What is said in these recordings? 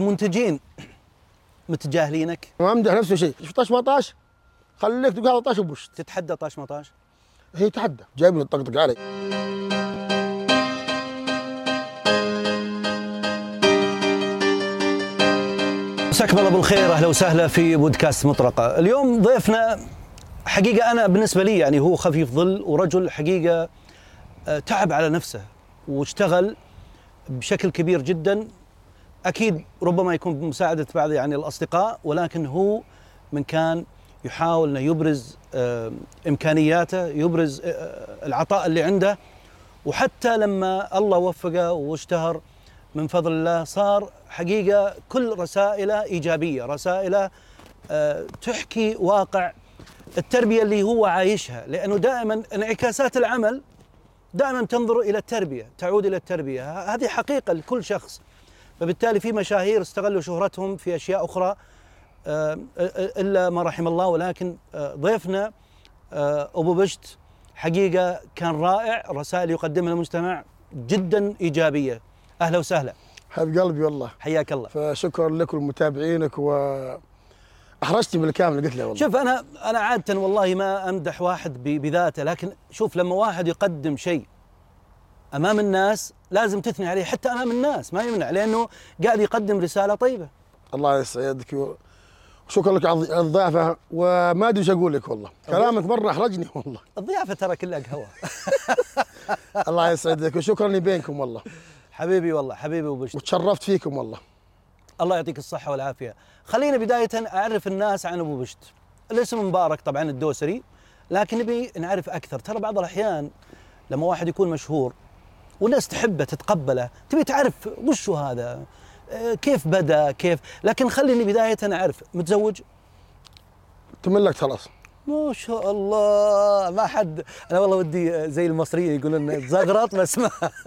المنتجين متجاهلينك ما امدح نفسه شيء شوف طاش ما طاش خليك تقول هذا طاش وبوشت تتحدى طاش مطاش هي تحدى جايبني الطقطق علي مساكم الله بالخير اهلا وسهلا في بودكاست مطرقه اليوم ضيفنا حقيقه انا بالنسبه لي يعني هو خفيف ظل ورجل حقيقه آه، تعب على نفسه واشتغل بشكل كبير جدا اكيد ربما يكون بمساعده بعض يعني الاصدقاء ولكن هو من كان يحاول انه يبرز آه، امكانياته يبرز آه، العطاء اللي عنده وحتى لما الله وفقه واشتهر من فضل الله صار حقيقه كل رسائله ايجابيه، رسائله آه، تحكي واقع التربيه اللي هو عايشها، لانه دائما انعكاسات العمل دائما تنظر الى التربيه، تعود الى التربيه، ه- هذه حقيقه لكل شخص. فبالتالي في مشاهير استغلوا شهرتهم في اشياء اخرى آه، الا ما رحم الله ولكن آه، ضيفنا آه، ابو بشت حقيقه كان رائع رسائل يقدمها للمجتمع جدا ايجابيه اهلا وسهلا حبيب قلبي والله حياك الله فشكرا لكم ولمتابعينك و احرجتني بالكامل قلت له والله شوف انا انا عاده والله ما امدح واحد ب- بذاته لكن شوف لما واحد يقدم شيء امام الناس لازم تثني عليه حتى امام الناس ما يمنع لانه قاعد يقدم رساله طيبه الله يسعدك و- وشكرا لك على على الضيافه وما ادري ايش اقول لك والله كلامك مره احرجني والله الضيافه ترى كلها قهوه الله يسعدك وشكرا لي بينكم والله حبيبي والله حبيبي ابو بشت وتشرفت فيكم والله الله يعطيك الصحة والعافية. خلينا بداية أعرف الناس عن أبو بشت. الاسم مبارك طبعا الدوسري لكن نبي نعرف أكثر، ترى بعض الأحيان لما واحد يكون مشهور والناس تحبه تتقبله، تبي تعرف وش هو هذا؟ آه، كيف بدا؟ كيف؟ لكن خليني بداية أعرف متزوج؟ تملكت خلاص ما شاء الله ما حد انا والله ودي آه، زي المصريين يقولون زغرط بس ما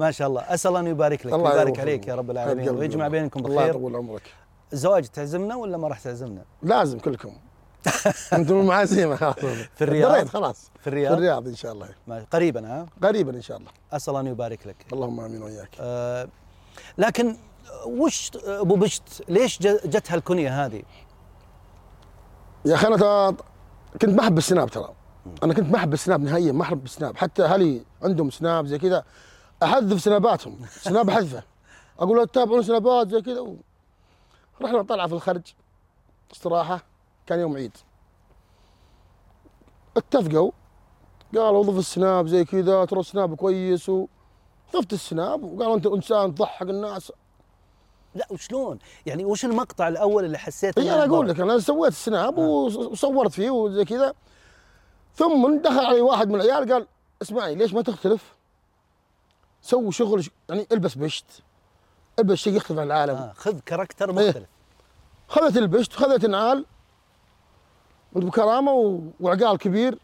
ما شاء الله اسال الله ان يبارك لك الله ويبارك يوفقك. عليك يا رب حبيب العالمين قلبي ويجمع والله. بينكم الله بخير يطول عمرك الزواج تعزمنا ولا ما راح تعزمنا؟ لازم كلكم انتم معازيمه في الرياض؟ خلاص في الرياض؟ في الرياض ان شاء الله ما- قريبا ها؟ قريبا ان شاء الله اسال الله ان يبارك لك. اللهم امين وياك أه لكن وش ابو بشت ليش ج- جت هالكنيه هذه؟ يا اخي انا ترى كنت ما احب السناب ترى انا كنت ما احب السناب نهائيا ما احب السناب حتى اهلي عندهم سناب زي كذا احذف سناباتهم سناب احذفه اقول له تتابعون سنابات زي كذا و... رحنا طلعه في الخرج استراحه كان يوم عيد اتفقوا قالوا ضف السناب زي كذا ترى السناب كويس و... ضفت السناب وقالوا انت انسان تضحك الناس لا وشلون؟ يعني وش المقطع الاول اللي حسيت اي إنه انا اقول ضرب؟ إيه، لك انا سويت سناب وصورت فيه وزي كذا ثم دخل علي واحد من العيال قال اسمعي ليش ما تختلف؟ سوي شغل ش- يعني البس بشت البس شيء يختلف عن العالم آه خذ كاركتر إيه. مختلف خذت البشت خذت نعال بكرامه و- وعقال كبير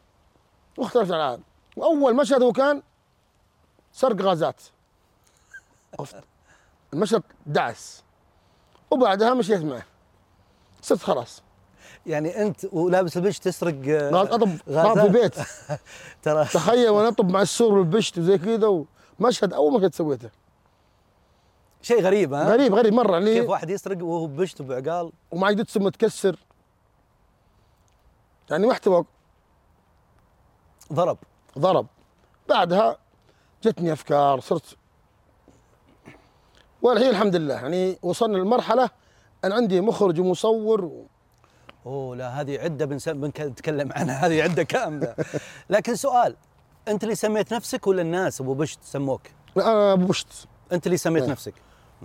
واختلفت عن العالم واول مشهد هو كان سرق غازات أفت- المشهد دعس وبعدها مشيت معه صرت خلاص يعني انت ولابس البش تسرق آه، غاز اطب غازات. غاز في البيت ترى تخيل وانا اطب مع السور والبشت وزي كذا ومشهد اول ما كنت سويته شيء غريب ها؟ غريب غريب مره أه؟ كيف يعني واحد يسرق وهو بشت وبعقال ومع جدته متكسر يعني محتوى ضرب ضرب بعدها جتني افكار صرت والحين الحمد لله يعني وصلنا لمرحله ان عندي مخرج ومصور و... اوه لا هذه عده بنس- بنك- بنتكلم عنها هذه عده كامله لكن سؤال انت اللي سميت نفسك ولا الناس ابو بشت سموك؟ انا أبو بشت انت اللي سميت إيه. نفسك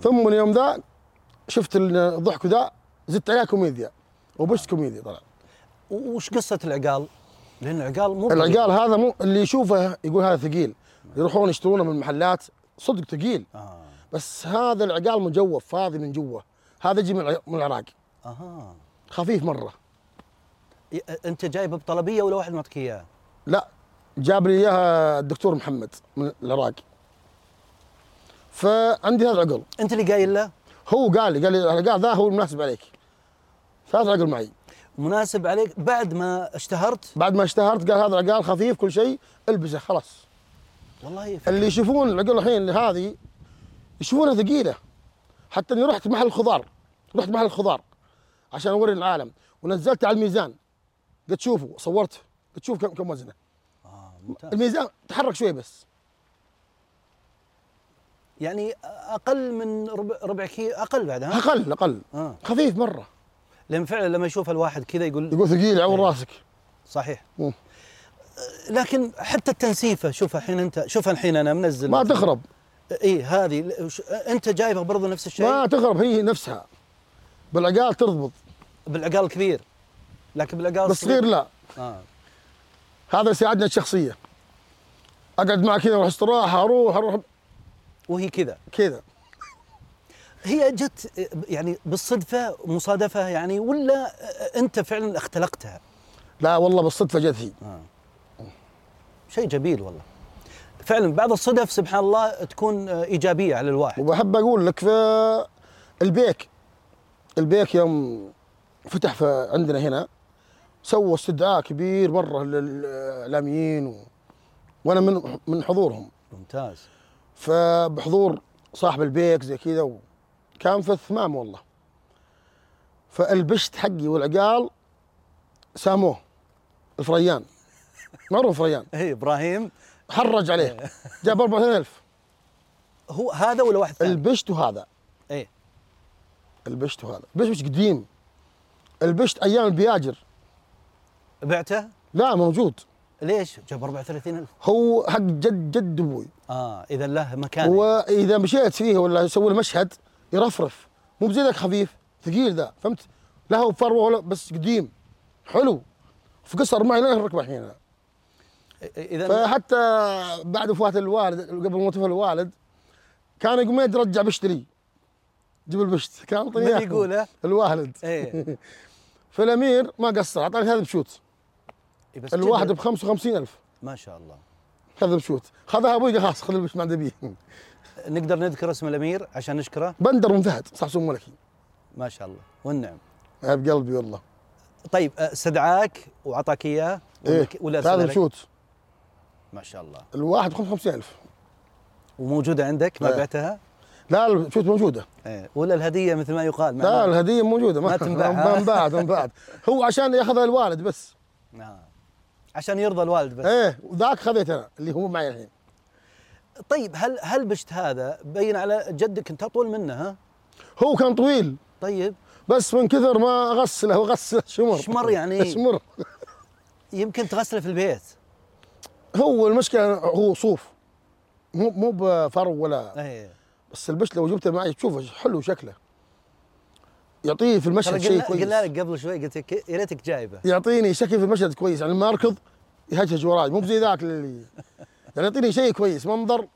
ثم اليوم ذا شفت الضحك ذا زدت عليه كوميديا وبشت كوميديا طلع وش قصه العقال؟ لان العقال مو العقال هذا مو اللي يشوفه يقول هذا ثقيل يروحون يشترونه من المحلات صدق ثقيل آه. بس هذا العقال مجوف فاضي من جوا هذا يجي من الع- من العراق اها خفيف مره آه. ي- انت جايبه بطلبيه ولا واحد معطيك اياه؟ لا جاب لي اياها الدكتور محمد من العراق فعندي هذا العقل انت اللي قايل له هو قال لي قال لي العقال ذا هو المناسب عليك فهذا العقل معي مناسب عليك بعد ما اشتهرت بعد ما اشتهرت قال هذا العقال خفيف كل شيء البسه خلاص والله يف- اللي يشوفون العقول الحين هذه يشوفونها ثقيله حتى اني رحت محل الخضار رحت محل الخضار عشان اوري العالم ونزلت على الميزان قلت شوفوا صورت قلت شوف كم كم وزنه آه ممتاز الميزان تحرك شوي بس يعني اقل من ربع, ربع كيلو اقل بعد ها اقل اقل آه. خفيف مره لان فعلا لما يشوف الواحد كذا يقول يقول ثقيل عور راسك صحيح مم. لكن حتى التنسيفه شوفها الحين انت شوفها الحين انا منزل ما تخرب اي هذه ل- ش- انت جايبها برضو نفس ما الشيء تخرب هي نفسها بالعقال ترضبط بالعقال الكبير لكن بالعقال بالصغير لا آه. هذا اللي ساعدنا الشخصيه اقعد معه كذا واروح استراحه اروح اروح وهي كذا كذا هي جت يعني بالصدفه مصادفه يعني ولا انت فعلا اختلقتها لا والله بالصدفه جت هي شيء جميل والله فعلا بعض الصدف سبحان الله تكون ايجابيه على الواحد وبحب اقول لك في البيك البيك يوم فتح في عندنا هنا سووا استدعاء كبير مره للاعلاميين و... وانا من من حضورهم ممتاز فبحضور صاحب البيك زي كذا وكان في الثمام والله فالبشت حقي والعقال ساموه الفريان معروف فريان اي ابراهيم حرج عليه جاب 40000 هو هذا ولا واحد ثاني؟ البشت وهذا ايه البشت وهذا البشت مش قديم البشت ايام البياجر بعته لا موجود ليش؟ جاب 34000 هو حق جد جد ابوي اه اذا له مكان واذا مشيت فيه ولا اسوي له مشهد يرفرف مو بزي ذاك خفيف ثقيل ذا فهمت لا هو فروه ولا بس قديم حلو في قصر معي لين ركبه الحين أنا. اذا فحتى بعد وفاه الوالد قبل موت الوالد كان قميد رجع بشتري جيب البشت كان من يعطيني إياه. يقوله؟ الوالد ايه فالامير ما قصر اعطاني هذا بشوت بس الواحد جد- ب 55000 ما شاء الله هذا بشوت خذها ابوي قال خلاص خذ البشت ما عندي بيه نقدر نذكر اسم الامير عشان نشكره بندر من فهد صح سمو ملكي ما شاء الله والنعم يا بقلبي والله طيب آه، استدعاك واعطاك اياه ولا ايه ك- ولا هذا أرسل لك؟ بشوت ما شاء الله الواحد ب 55000 وموجوده عندك ما إيه. بعتها لا الشوت موجوده إيه. ولا الهديه مثل ما يقال ما لا الهديه موجوده ما ما تنباع، ها؟ ما انباعت ما انباعت هو عشان ياخذها الوالد بس آه. عشان يرضى الوالد بس ايه وذاك خذيت انا اللي هو معي الحين طيب هل هل بشت هذا بين على جدك انت اطول منه ها هو كان طويل طيب بس من كثر ما غسله وغسله شمر شمر يعني؟ شمر يمكن تغسله في البيت هو المشكله هو صوف مو مو بفرو ولا ايه بس البش لو جبته معي تشوفه حلو شكله يعطيه في المشهد ترى شيء قلنا, قلنا كويس لك قبل شوي قلت لك يا ريتك جايبه يعطيني شكل في المشهد كويس يعني لما اركض يهجهج وراي مو بزي ذاك اللي يعني يعطيني شيء كويس منظر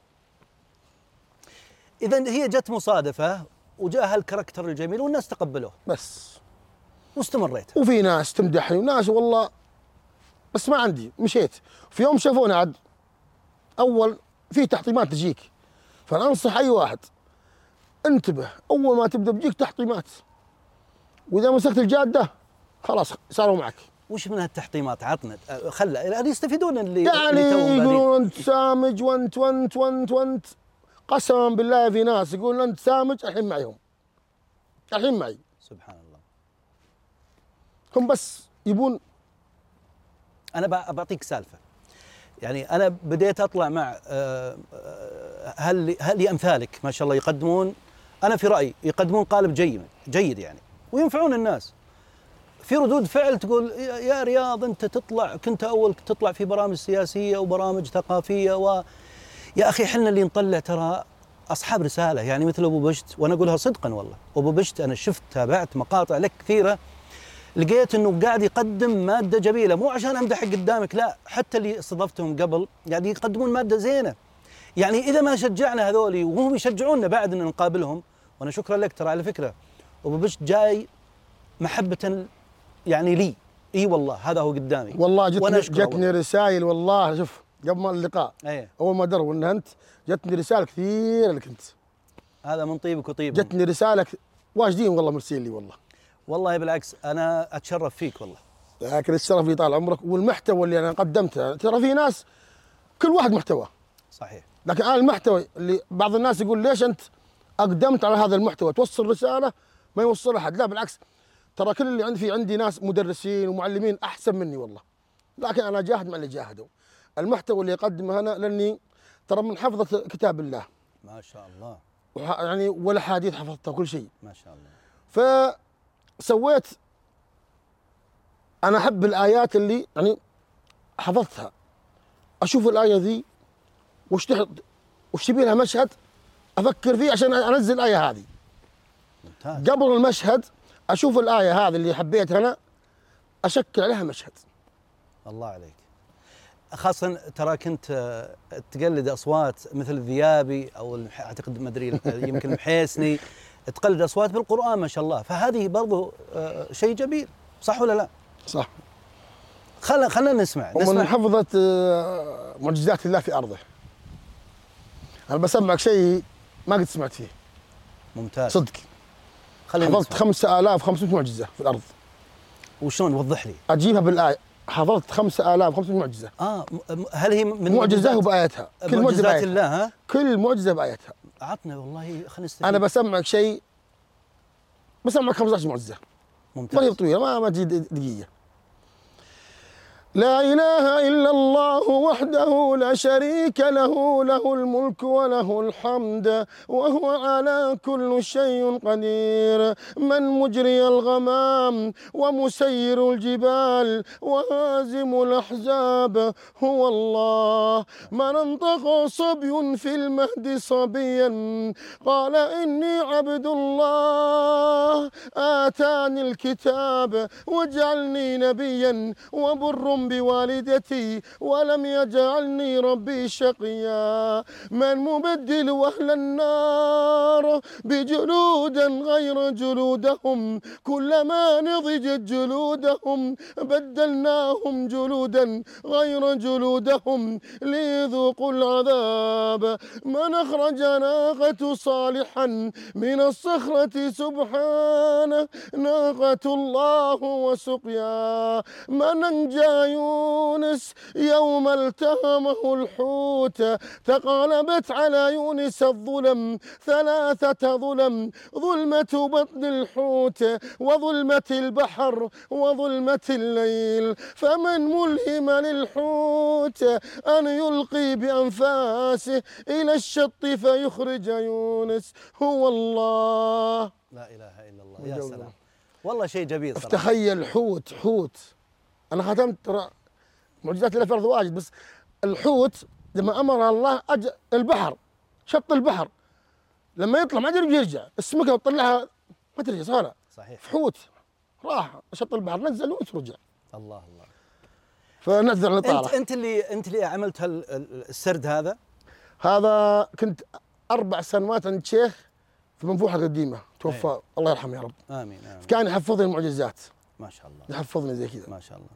اذا هي جت مصادفه وجاء هالكاركتر الجميل والناس تقبلوه بس واستمريت وفي ناس تمدحني وناس والله بس ما عندي مشيت في يوم شافوني عاد اول في تحطيمات تجيك فانا انصح اي واحد انتبه اول ما تبدا بجيك تحطيمات واذا مسكت الجاده خلاص صاروا معك وش من هالتحطيمات عطنا أه، خل يعني يستفيدون اللي يعني اللي توهم بادين. يقولون انت سامج وانت وانت وانت وانت قسما بالله في ناس يقولون انت سامج الحين معيهم الحين معي سبحان الله هم بس يبون انا بع- بعطيك سالفه يعني انا بديت اطلع مع آه، آه، هل هل امثالك ما شاء الله يقدمون انا في رايي يقدمون قالب جيد جيد يعني وينفعون الناس في ردود فعل تقول يا- يا رياض انت تطلع كنت اول تطلع في برامج سياسيه وبرامج ثقافيه و يا اخي احنا اللي نطلع ترى اصحاب رساله يعني مثل ابو بشت وانا اقولها صدقا والله ابو بشت انا شفت تابعت مقاطع لك كثيره لقيت انه قاعد يقدم ماده جميله مو عشان امدحك قدامك لا حتى اللي استضفتهم قبل قاعد يقدمون ماده زينه يعني اذا ما شجعنا هذولي وهم يشجعونا بعد ان نقابلهم وانا شكرا لك ترى على فكره ابو بشت جاي محبه يعني لي اي والله هذا هو قدامي والله وانا جتني أشكره جتني رسائل والله شوف قبل ما اللقاء ايه اول ما دروا ان انت جتني رسائل كثير لك انت هذا من طيبك وطيبهم جتني رسائل ك- واجدين والله مرسلين لي والله والله بالعكس انا اتشرف فيك والله لكن الشرف يطال عمرك والمحتوى اللي انا قدمته ترى في ناس كل واحد محتوى صحيح لكن انا المحتوى اللي بعض الناس يقول ليش انت اقدمت على هذا المحتوى توصل رساله ما يوصل احد لا بالعكس ترى كل اللي عندي في عندي ناس مدرسين ومعلمين احسن مني والله لكن انا اجاهد مع اللي جاهدوا المحتوى اللي اقدمه انا لاني ترى من حفظه كتاب الله ما شاء الله وح- يعني ولا حديث حفظتها كل شيء ما شاء الله فسويت انا احب الايات اللي يعني حفظتها اشوف الايه ذي وش تحط وش تبي لها مشهد افكر فيه عشان انزل الايه هذه ممتاز قبل المشهد اشوف الايه هذه اللي حبيتها انا اشكل عليها مشهد الله عليك خاصة ترى كنت آه، تقلد اصوات مثل الذيابي او المح- اعتقد ما ادري آه، يمكن المحيسني تقلد اصوات بالقران ما شاء الله فهذه برضو آه، شيء جميل صح ولا لا؟ صح خلنا خلنا نسمع ومن نسمع حفظت آه، معجزات الله في ارضه انا بسمعك شيء ما قد سمعت فيه ممتاز صدق خلينا حفظت نسمع 5500 معجزه في الارض وشلون وضح لي اجيبها بالايه حفظت 5500 معجزه اه م- م- هل هي من معجزه معجزات- وبايتها كل معجزه معجزات بايتها الله ها كل معجزه بايتها عطنا والله خلينا نستفيد انا بسمعك شيء بسمعك 15 معجزه ما هي ممتاز طويله طيب ما ما تجي د- دقيقه لا اله الا الله وحده لا شريك له له الملك وله الحمد وهو على كل شيء قدير من مجري الغمام ومسير الجبال وهازم الاحزاب هو الله من انطق صبي في المهد صبيا قال اني عبد الله اتاني الكتاب وجعلني نبيا وبر بوالدتي ولم يجعلني ربي شقيا من مبدل اهل النار بجلودا غير جلودهم كلما نضجت جلودهم بدلناهم جلودا غير جلودهم ليذوقوا العذاب من اخرج ناقه صالحا من الصخره سبحانه ناقه الله وسقيا من انجى يونس يوم التهمه الحوت تقالبت على يونس الظلم ثلاثه ظلم ظلمه بطن الحوت وظلمه البحر وظلمه الليل فمن ملهم للحوت أن يلقي بأنفاسه إلى الشط فيخرج يونس هو الله لا اله الا الله يا وجوده. سلام والله شيء جميل صراحه تخيل حوت حوت أنا ختمت ترى معجزات الله في الأرض واجد بس الحوت لما أمر الله أج... البحر شط البحر لما يطلع ما أدري بيرجع السمكة بتطلعها ما ترجع صار صحيح في حوت راح شط البحر نزل ورجع الله الله فنزل انت الإطارة انت اللي انت اللي عملت هال- ال- السرد هذا هذا كنت أربع سنوات عند شيخ في منفوحة قديمة توفى الله يرحمه يا رب امين امين كان يحفظني المعجزات ما شاء الله يحفظني زي كذا ما شاء الله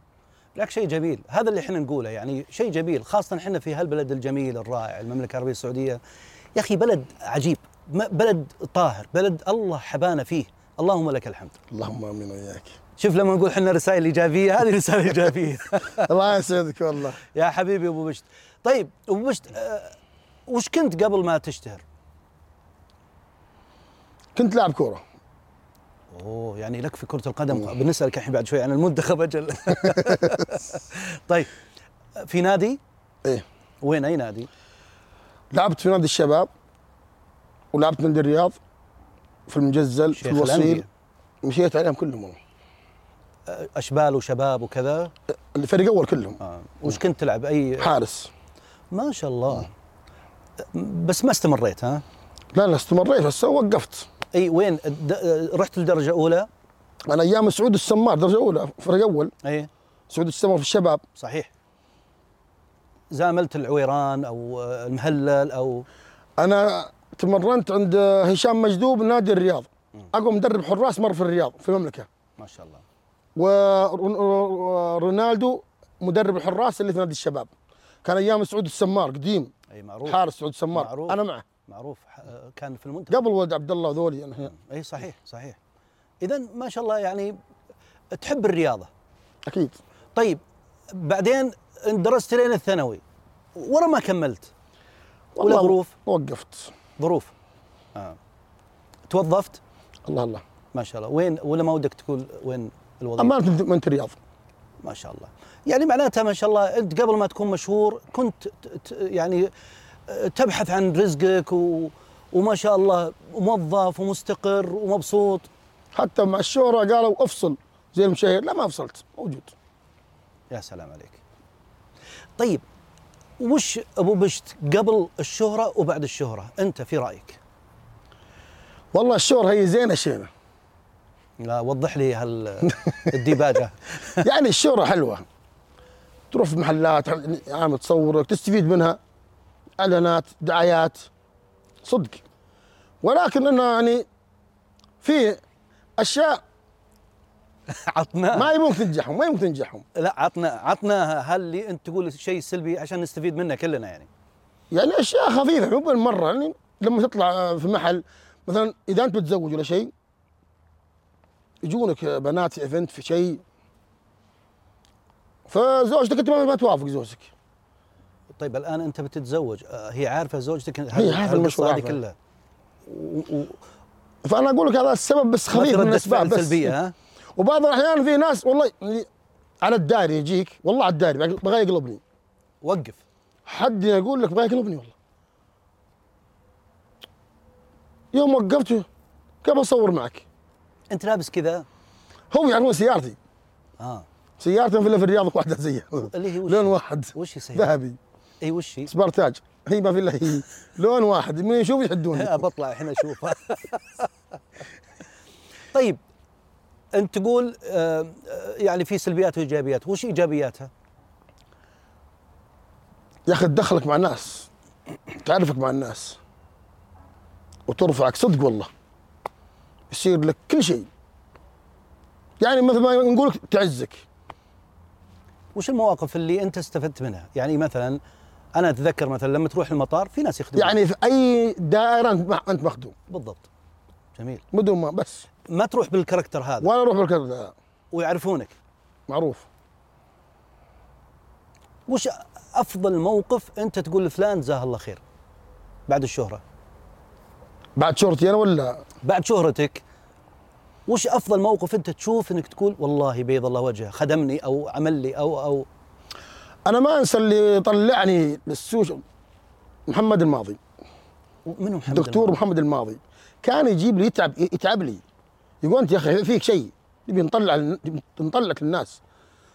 لك شيء جميل هذا اللي احنا نقوله يعني شيء جميل خاصه احنا في هالبلد الجميل الرائع المملكه العربيه السعوديه يا اخي بلد عجيب م- بلد طاهر بلد الله حبانا فيه اللهم لك الحمد اللهم امين وياك شوف لما نقول احنا رسائل ايجابيه هذه رساله ايجابيه الله يسعدك والله يا حبيبي ابو بشت طيب ابو بشت آه وش كنت قبل ما تشتهر كنت لاعب كوره اوه يعني لك في كره القدم بنسالك الحين بعد شوي عن المنتخب اجل طيب في نادي ايه وين اي نادي لعبت في نادي الشباب ولعبت نادي الرياض في المجزل في شيخ الوصيل الأندية. مشيت عليهم كلهم والله اشبال وشباب وكذا الفريق اول كلهم آه. وش كنت تلعب اي حارس ما شاء الله بس ما استمريت ها لا لا استمريت بس وقفت اي وين د- رحت الدرجه الاولى انا ايام سعود السمار درجه اولى فريق اول اي سعود السمار في الشباب صحيح زاملت العويران او آه، المهلل او انا تمرنت عند هشام مجذوب نادي الرياض اقوى مدرب حراس مر في الرياض في المملكه ما شاء الله ورونالدو مدرب الحراس اللي في نادي الشباب كان ايام سعود السمار قديم اي معروف حارس سعود السمار معروف. انا معه معروف ح- آه، كان في المنتخب قبل ولد عبد الله يعني ذولي انا اي إيه، صحيح صحيح اذا ما شاء الله يعني تحب الرياضه اكيد طيب بعدين درست لين الثانوي ورا ما كملت ولا والله ظروف وقفت ظروف آه. توظفت الله الله ما شاء الله وين ولا ما ودك تقول وين الوظيفه امانه من انت الرياض ما شاء الله يعني معناتها ما شاء الله انت قبل ما تكون مشهور كنت ت- ت- يعني آه، تبحث عن رزقك و وما شاء الله موظف ومستقر ومبسوط حتى مع الشهره قالوا افصل زي المشاهير لا ما فصلت موجود يا سلام عليك طيب وش ابو بشت قبل الشهره وبعد الشهره انت في رايك والله الشهره هي زينه شينه لا وضح لي هال الديباجه يعني الشهرة حلوة تروح في محلات عامل تصورك تستفيد منها اعلانات دعايات صدق ولكن انه يعني في اشياء عطنا ما يمكن تنجحهم ما يمكن تنجحهم لا عطنا عطنا هل اللي انت تقول شيء سلبي عشان نستفيد منه كلنا يعني يعني اشياء خفيفه مو بالمره يعني لما تطلع في محل مثلا اذا انت متزوج ولا شيء يجونك بنات في ايفنت في شيء فزوجتك انت ما ما توافق زوجتك طيب الان انت بتتزوج آه، هي عارفه زوجتك هي عارفة المشروع هذه عارفة. كلها فانا اقول لك هذا السبب بس ما في خفيف من ردة فعل الاسباب بس سلبيه ها وبعض الاحيان في ناس والله يعني على الداري يجيك والله على الداري بغى يقلبني وقف حد يقول لك بغى يقلبني والله يوم وقفته كيف اصور معك؟ انت لابس كذا هم يعرفون سيارتي اه سيارتي في في الرياض واحده زيها اللي هي وش لون واحد وش يصير؟ ذهبي اي وش هي؟ سبارتاج هي ما في الا هي لون واحد من يشوف يحدوني بطلع الحين اشوفها طيب انت تقول آه، آه، يعني في سلبيات وايجابيات وش ايجابياتها؟ يا اخي تدخلك مع الناس تعرفك مع الناس وترفعك صدق والله يصير لك كل شيء يعني مثل ما نقول لك تعزك وش المواقف اللي انت استفدت منها؟ يعني مثلا انا اتذكر مثلا لما تروح المطار في ناس يخدمون يعني في اي دائره انت مع- انت مخدوم بالضبط جميل بدون ما بس ما تروح بالكاركتر هذا ولا اروح بالكذا ويعرفونك معروف وش افضل موقف انت تقول لفلان جزاه الله خير بعد الشهره بعد شهرتي انا ولا بعد شهرتك وش افضل موقف انت تشوف انك تقول والله بيض الله وجهه خدمني او عمل لي او او انا ما انسى اللي طلعني للسوشيال محمد الماضي منو محمد الدكتور المهندس؟ محمد الماضي كان يجيب لي يتعب يتعب لي يقول انت يا اخي فيك شيء نبي نطلع نبي نطلعك للناس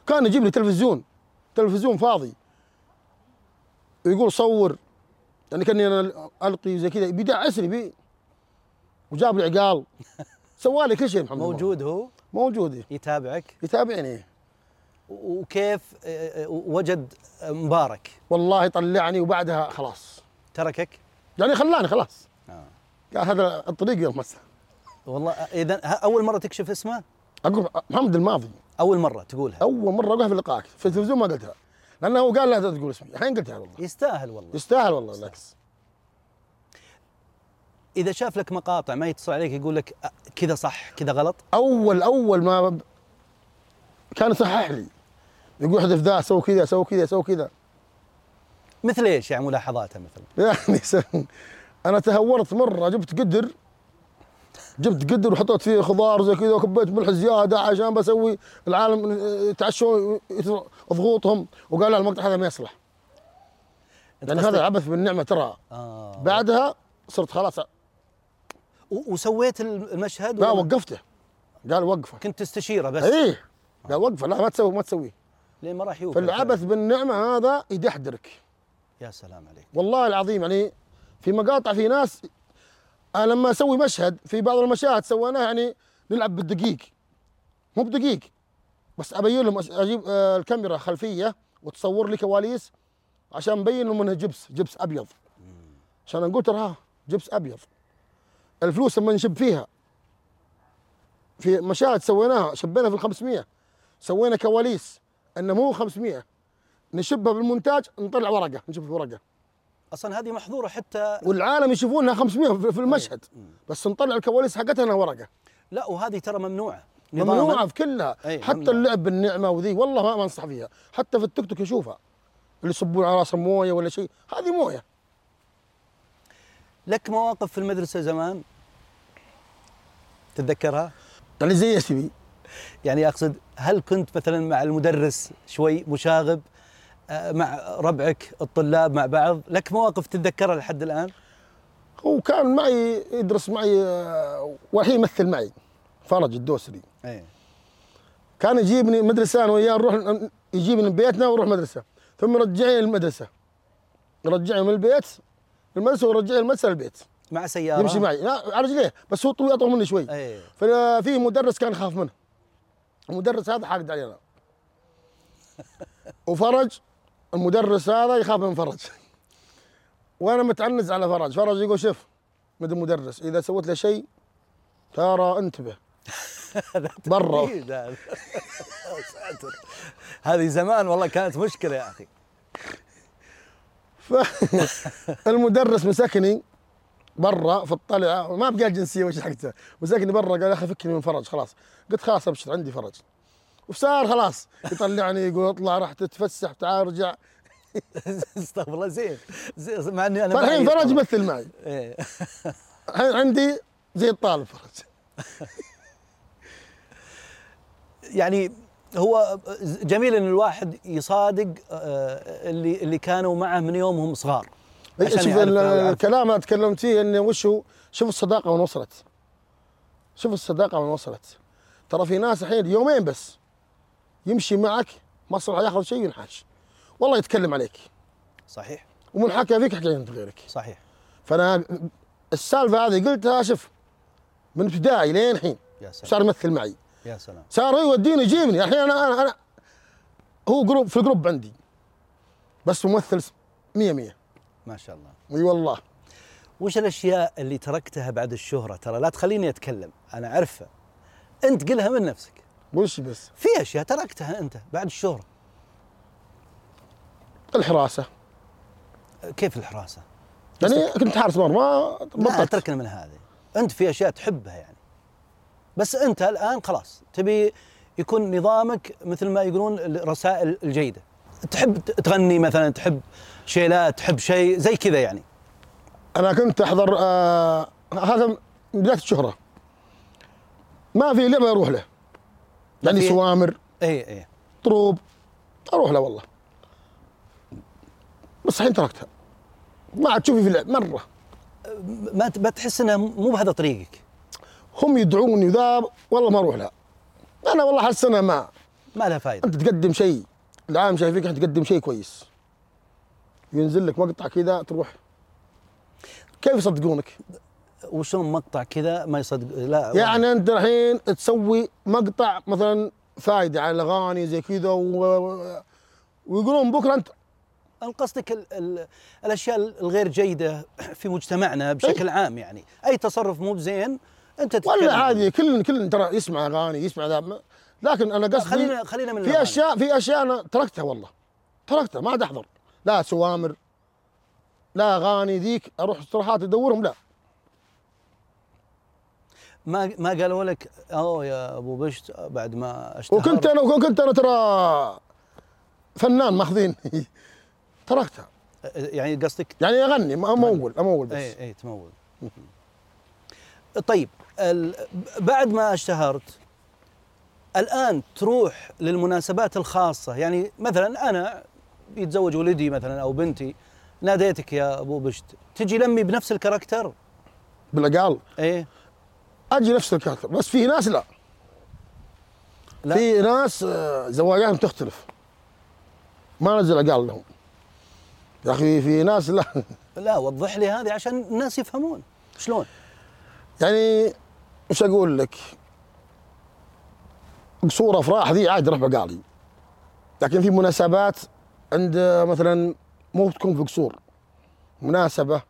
كان يجيب لي تلفزيون تلفزيون فاضي يقول صور يعني كاني انا القي زي كذا بيدعسني بي وجاب لي عقال سوى لي كل شيء محمد موجود هو الماضي. موجود يتابعك يتابعني و- وكيف آه، آه، وجد مبارك والله طلعني وبعدها خلاص تركك يعني خلاني خلاص آه. قال هذا الطريق يوم مسه والله آه، اذا اول مره تكشف اسمه اقول محمد الماضي اول مره تقولها اول مره اقولها في لقائك في التلفزيون ما قلتها لانه هو قال لا تقول اسمي الحين قلتها والله يستاهل والله يستاهل والله بالعكس اذا شاف لك مقاطع ما يتصل عليك يقول لك آه، كذا صح كذا غلط اول اول ما ب- كان يصحح لي يقول احذف ذا سوي كذا سوي كذا سوي كذا مثل ايش يعني ملاحظاته مثلا يعني س- انا تهورت مره جبت قدر جبت قدر وحطيت فيه خضار زي كذا وكبيت ملح زياده عشان بسوي العالم آه، يتعشون يت- ضغوطهم وقال لا المقطع هذا ما يصلح أنت لان قصدك- هذا عبث بالنعمه ترى آه. بعدها صرت خلاص و- وسويت المشهد لا ولا وقفته قال وقفه كنت تستشيره بس ايه لا وقفه لا ما تسوي ما تسويه لين ما راح يوقف فالعبث بالنعمه هذا يدحدرك يا سلام عليك والله العظيم يعني في مقاطع في ناس انا لما اسوي مشهد في بعض المشاهد سويناها يعني نلعب بالدقيق مو بدقيق بس ابين لهم أس- اجيب آه، الكاميرا خلفيه وتصور لي كواليس عشان نبين لهم انها جبس جبس ابيض عشان نقول ترى جبس ابيض الفلوس لما نشب فيها في مشاهد سويناها شبينا في ال 500 سوينا كواليس انه مو 500 نشبها بالمونتاج نطلع ورقه نشبها ورقه اصلا هذه محظوره حتى والعالم يشوفونها 500 في- في المشهد بس نطلع الكواليس حقتها انها ورقه لا وهذه ترى ممنوعه نظاماً. ممنوعه في كلها أي، حتى ممنوع. اللعب بالنعمه وذي والله ما ما انصح فيها حتى في التيك توك يشوفها اللي يصبون على راسهم مويه ولا شيء هذه مويه لك مواقف في المدرسه زمان تتذكرها؟ يعني زي ايش تبي؟ يعني اقصد هل كنت مثلا مع المدرس شوي مشاغب آه، مع ربعك الطلاب مع بعض لك مواقف تتذكرها لحد الان هو كان معي يدرس معي آه، والحين يمثل معي فرج الدوسري ايه كان يجيبني مدرسة أنا وياه نروح يجيبني من بيتنا ونروح مدرسة ثم يرجعني للمدرسة يرجعني من البيت للمدرسة ويرجعني المدرسة للبيت مع سياره يمشي معي لا على رجليه بس هو طويل أطول مني شوي ايه ففي مدرس كان يخاف منه المدرس هذا حاقد علينا وفرج المدرس هذا يخاف من فرج وانا متعنز على فرج فرج يقول شوف مد المدرس اذا سويت له شيء ترى انتبه برا أكيد هذا. يا إيه، ساتر. هذه زمان والله كانت مشكله يا اخي فالمدرس مسكني برا في الطلعه ما بقى جنسيه وش حقته مسكني برا قال يا اخي فكني من فرج خلاص قلت خلاص ابشر عندي فرج وفسار خلاص يطلعني يقول اطلع راح تتفسح تعال ارجع استغفر الله زين زين، مع اني انا ما فالحين طيب، فرج أعيد. يمثل معي طيب، إيه. الحين عندي زي الطالب فرج يعني هو جميل ان الواحد يصادق آه، اللي اللي كانوا معه من يومهم صغار عشان إيه، شوف يعرف ال- إنه يعرف. الكلام اللي تكلمت فيه انه وش هو شوف الصداقه وين وصلت شوف الصداقه وين وصلت ترى في ناس الحين يومين بس يمشي معك مصلحه ياخذ شيء ينحاش والله يتكلم عليك صحيح ومن حكى فيك حكى عند غيرك صحيح فانا السالفه هذه قلتها شوف من ابتدائي لين الحين يا سلام صار يمثل معي يا سلام صار يوديني يجيبني الحين انا انا انا هو جروب في الجروب عندي بس ممثل 100 100 ما شاء الله اي والله وش الاشياء اللي تركتها بعد الشهره ترى لا تخليني اتكلم انا عارفها انت قلها من نفسك وش بس في اشياء تركتها انت بعد الشهره الحراسه كيف الحراسه يعني كنت حارس مرمى لا بطلت اتركنا من هذه انت في اشياء تحبها يعني بس انت الان خلاص تبي يكون نظامك مثل ما يقولون الرسائل الجيده تحب تغني مثلا تحب شيلات تحب شيء زي كذا يعني انا كنت احضر آه هذا من بدايه الشهره ما في لعبه اروح له يعني في- سوامر اي اي طروب اروح له والله بس الحين تركتها ما عاد تشوفي في لعب مره ما ت- ما تحس انها مو بهذا طريقك هم يدعوني ذا والله ما اروح لها انا والله حاسس انا ما ما لها فائده انت تقدم شيء العام شايفينك انت تقدم شيء كويس ينزل لك مقطع كذا تروح كيف يصدقونك؟ وشلون مقطع كذا ما يصدق لا يعني انت الحين تسوي مقطع مثلا فايده على الاغاني زي كذا و... و- ويقولون بكره انت أنا قصدك ال ال الاشياء الغير جيده في مجتمعنا بشكل إيه. عام يعني اي تصرف مو بزين انت تتكلم ولا عنه. عادي كل كل ترى يسمع اغاني يسمع ذا ما- لكن انا قصدي خلينا خلينا من في الأغاني. اشياء في اشياء انا تركتها والله تركتها ما عاد احضر لا سوامر لا اغاني ذيك اروح اقتراحات ادورهم لا ما ما قالوا لك اوه يا ابو بشت بعد ما اشتهر وكنت انا وكنت انا ترى فنان ماخذين تركتها يعني قصدك يعني اغني ما امول امول بس اي اي تمول طيب ال... بعد ما اشتهرت الان تروح للمناسبات الخاصه يعني مثلا انا يتزوج ولدي مثلا او بنتي ناديتك يا ابو بشت تجي لمي بنفس الكاركتر بالاقال ايه اجي نفس الكاتب بس في ناس لا لا. في ناس آه، زواياهم تختلف ما نزل اقال لهم يا اخي في ناس لا لا وضح لي هذه عشان الناس يفهمون شلون يعني وش اقول لك؟ قصور افراح ذي عادي رفع قالي لكن في مناسبات عند آه، مثلا مو تكون في قصور مناسبه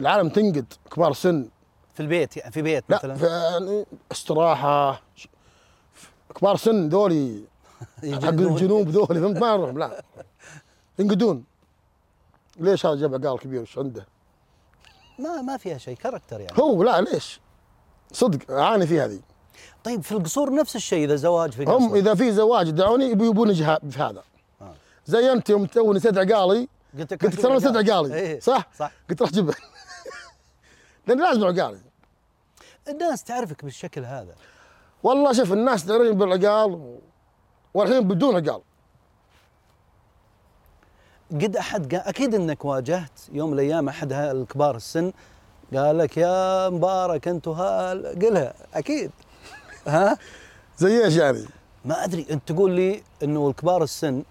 العالم تنقد كبار سن في البيت يعني في بيت لا مثلا في استراحه ش- كبار سن ذولي حق يجلدون. الجنوب ذول فهمت ما نروح لا ينقدون ليش هذا جاب عقال كبير وش عنده؟ ما ما فيها شيء كاركتر يعني هو لا ليش؟ صدق اعاني في هذه طيب في القصور نفس الشيء اذا زواج في هم قصر اذا في زواج دعوني يبي- يبون جها- في هذا آه. زي انت يوم تو نسيت عقالي قلت لك قلت ترى نسيت عقالي. عقالي إيه. صح؟ صح قلت راح جيبه لان لازم عقالي الناس تعرفك بالشكل هذا والله شوف الناس تعرفني بالعقال و- والحين بدون عقال قد احد قا... اكيد انك واجهت يوم من الايام احد ها- الكبار السن قال لك يا مبارك انت وهال قلها اكيد ها زي ايش يعني؟ ما ادري انت تقول لي انه الكبار السن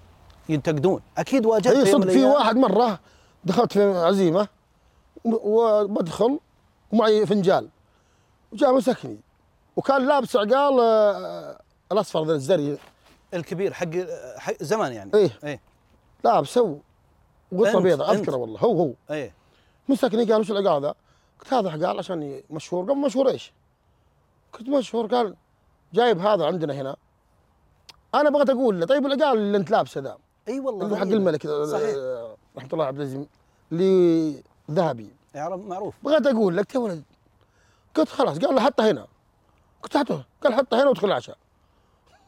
ينتقدون اكيد واجهت اي يوم من صدق في الأيام. واحد مره دخلت في عزيمه و- وبدخل ومعي فنجال وجاء مسكني وكان لابس عقال آه، الاصفر ذا الزري الكبير حق, حق زمان يعني إيه. ايه لابسه وقطه أنت- بيضاء أنت. اذكره والله هو هو ايه مسكني قال وش العقال ذا؟ قلت هذا عقال عشان ي- مشهور قال مشهور ايش؟ كنت مشهور قال جايب هذا عندنا هنا انا بغيت اقول له طيب العقال اللي انت لابسه ذا اي والله اللي هو حق غريبة. الملك آه، صحيح رحمه الله عبد العزيز اللي ذهبي يعرف يعني، معروف بغيت اقول لك يا ولد قلت خلاص قال له حطه هنا قلت حطه قال حطه هنا وادخل العشاء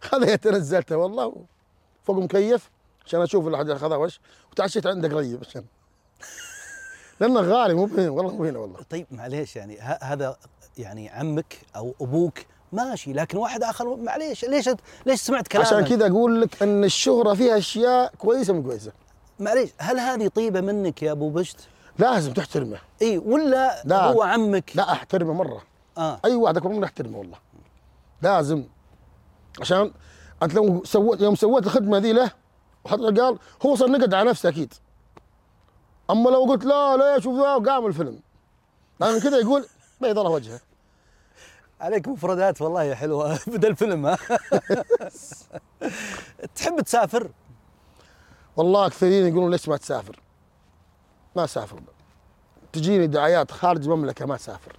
خذيته نزلته والله فوق مكيف عشان اشوف الاحد اخذها وش وتعشيت عنده قريب عشان لانه غالي مو بهنا والله مو هنا والله طيب معليش يعني ه- هذا يعني عمك او ابوك ماشي لكن واحد اخر معليش ليش أنت- ليش سمعت كلامه عشان كذا اقول لك ان الشهره فيها اشياء كويسه من كويسه معليش هل هذه طيبه منك يا ابو بشت؟ لازم تحترمه اي ولا لا. هو عمك لا احترمه مره اه اي واحد اكبر مني احترمه والله لازم عشان انت لو سويت يوم سويت الخدمه ذي له وحط قال هو صار نقد على نفسه اكيد اما لو قلت لا ليش وذا وقام الفيلم لان كذا يقول بيض الله وجهه عليك مفردات والله حلوه بدل فيلم ها تحب تسافر؟ والله كثيرين يقولون ليش ما تسافر ما سافر تجيني دعايات خارج المملكه ما سافر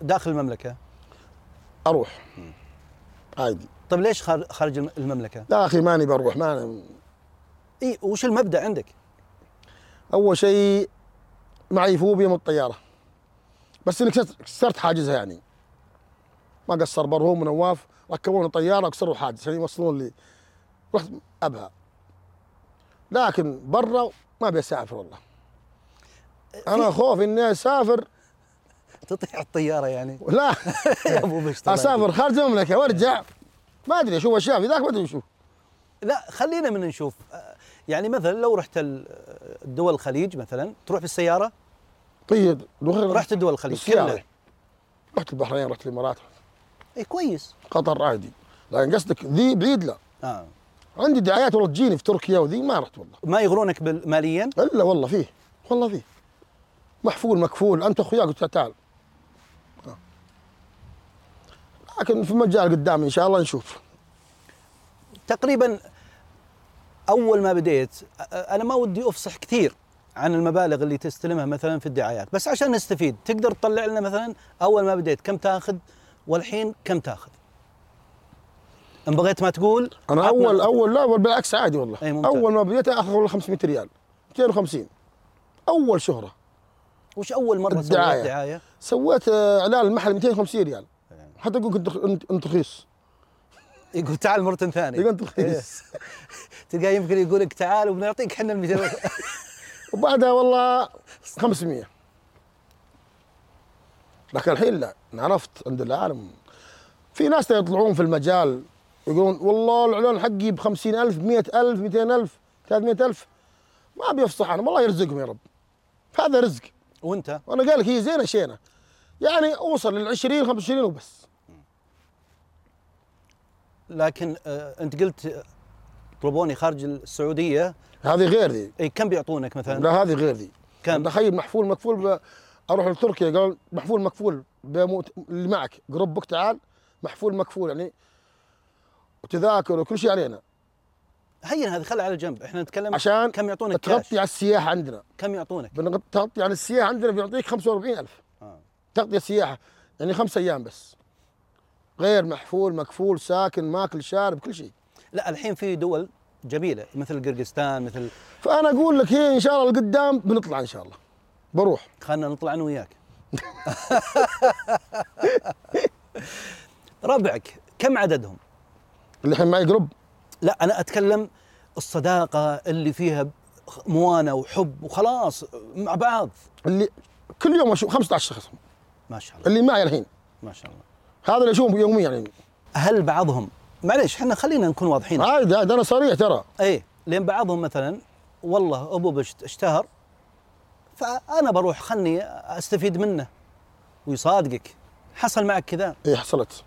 داخل المملكه اروح عادي طيب ليش خار- خارج الم- المملكه؟ لا اخي ماني بروح ما اي وش المبدا عندك؟ اول شيء معي فوبيا من الطياره بس اني كسرت- كسرت حاجزها يعني ما قصر برهوم ونواف ركبوني طياره وكسروا حاجز عشان يوصلون لي رحت ابها لكن برا ما بسافر والله انا خوفي اني اسافر تطيح الطياره يعني لا يا ابو بشت الله يهديك. اسافر خارج المملكه وارجع ما ادري اشوف اشياء في ذاك ما ادري اشوف لا خلينا من نشوف آه، يعني مثلا لو رحت ال- دول الخليج مثلا تروح بالسياره طيب لو- رحت دول الخليج بالسيارة. كلها رحت البحرين رحت الامارات اي إيه، كويس قطر عادي لكن قصدك ذي بعيد لا آه. عندي دعايات والله تجيني في تركيا وذي ما رحت والله ما يغرونك بال- ماليا الا والله فيه والله فيه محفول مكفول انت اخويا قلت له تعال آه. لكن في مجال قدام ان شاء الله نشوف تقريبا اول ما بديت أ- انا ما ودي افصح كثير عن المبالغ اللي تستلمها مثلا في الدعايات بس عشان نستفيد تقدر تطلع لنا مثلا اول ما بديت كم تاخذ والحين كم تاخذ ان بغيت ما تقول انا عطنا- اول اول لا بل- بالعكس عادي والله أي إيه، ممتاز. اول ما بديت اخذ والله 500 ريال 250 اول شهره وش اول مره سويت الدعاية. دعايه سويت آه، اعلان المحل 250 ريال إيه. حتى يقول كنت أنت- انت رخيص يقول تعال مرة ثانية يقول أنت رخيص. إيه. تلقاه يمكن يقول لك تعال وبنعطيك احنا ال 200 وبعدها والله 500 لكن الحين لا أنا عرفت عند العالم في ناس يطلعون في المجال يقولون والله الاعلان حقي ب 50000 100000 200000 300000 ما ابي افصح انا والله يرزقهم يا رب هذا رزق وانت وانا قال لك هي زينه شينه يعني اوصل لل 20 25 وبس لكن آه انت قلت آه، طلبوني خارج السعودية هذه غير ذي اي كم بيعطونك مثلا؟ لا هذه غير ذي كم؟ تخيل محفول مكفول ب... اروح لتركيا قال محفول مكفول بموت... اللي معك قربك تعال محفول مكفول يعني وتذاكر وكل شيء علينا هين هذا خلها على جنب احنا نتكلم عشان كم يعطونك تغطي كاش؟ على السياحه عندنا كم يعطونك؟ بنغ- تغطي على السياحه عندنا بيعطيك 45000 آه. تغطيه سياحه يعني خمس ايام بس غير محفول مكفول ساكن ماكل شارب كل شيء لا الحين في دول جميلة مثل قرقستان مثل فانا اقول لك هي ان شاء الله القدام بنطلع ان شاء الله بروح خلنا نطلع انا وياك ربعك كم عددهم؟ اللي الحين معي قرب لا انا اتكلم الصداقه اللي فيها موانه وحب وخلاص مع بعض اللي كل يوم اشوف 15 شخص ما شاء الله اللي معي الحين ما شاء الله هذا اللي اشوفه يوميا يعني هل بعضهم معليش احنا خلينا نكون واضحين عادي عادي انا صريح ترى اي لان بعضهم مثلا والله ابو بشت اشتهر فانا بروح خلني استفيد منه ويصادقك حصل معك كذا اي إيه، حصلت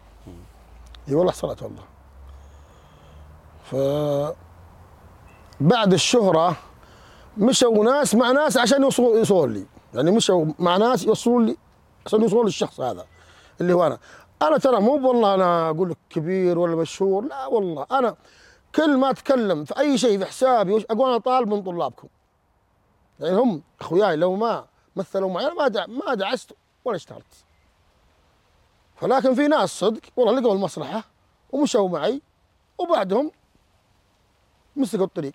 اي والله حصلت والله ف بعد الشهرة مشوا ناس مع ناس عشان يوصلوا يوصلوا لي يعني مشوا مع ناس يوصلوا لي عشان يوصلوا للشخص هذا اللي هو انا انا ترى مو والله انا اقول لك كبير ولا مشهور لا والله انا كل ما اتكلم في اي شيء في حسابي وش- اقول انا طالب من طلابكم يعني هم اخوياي لو ما مثلوا معي انا ما دع- ما دعست ولا اشتهرت فلكن في ناس صدق والله لقوا المصلحة ومشوا معي وبعدهم مسكوا الطريق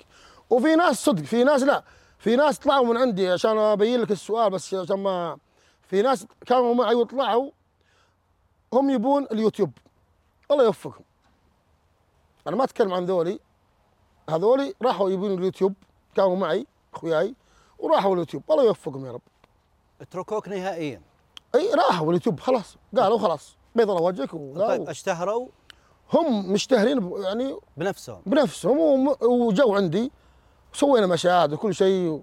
وفي ناس صدق في ناس لا في ناس طلعوا من عندي عشان ابين لك السؤال بس عشان ما في ناس كانوا معي وطلعوا هم يبون اليوتيوب الله يوفقهم انا ما اتكلم عن ذولي هذولي راحوا يبون اليوتيوب كانوا معي اخوياي وراحوا اليوتيوب الله يوفقهم يا رب اتركوك نهائيا اي راحوا اليوتيوب خلاص قالوا خلاص بيض الله وجهك طيب وقالوا اشتهروا هم مشتهرين ب- يعني بنفسهم بنفسهم وم- وجو عندي وسوينا مشاهد وكل شيء و-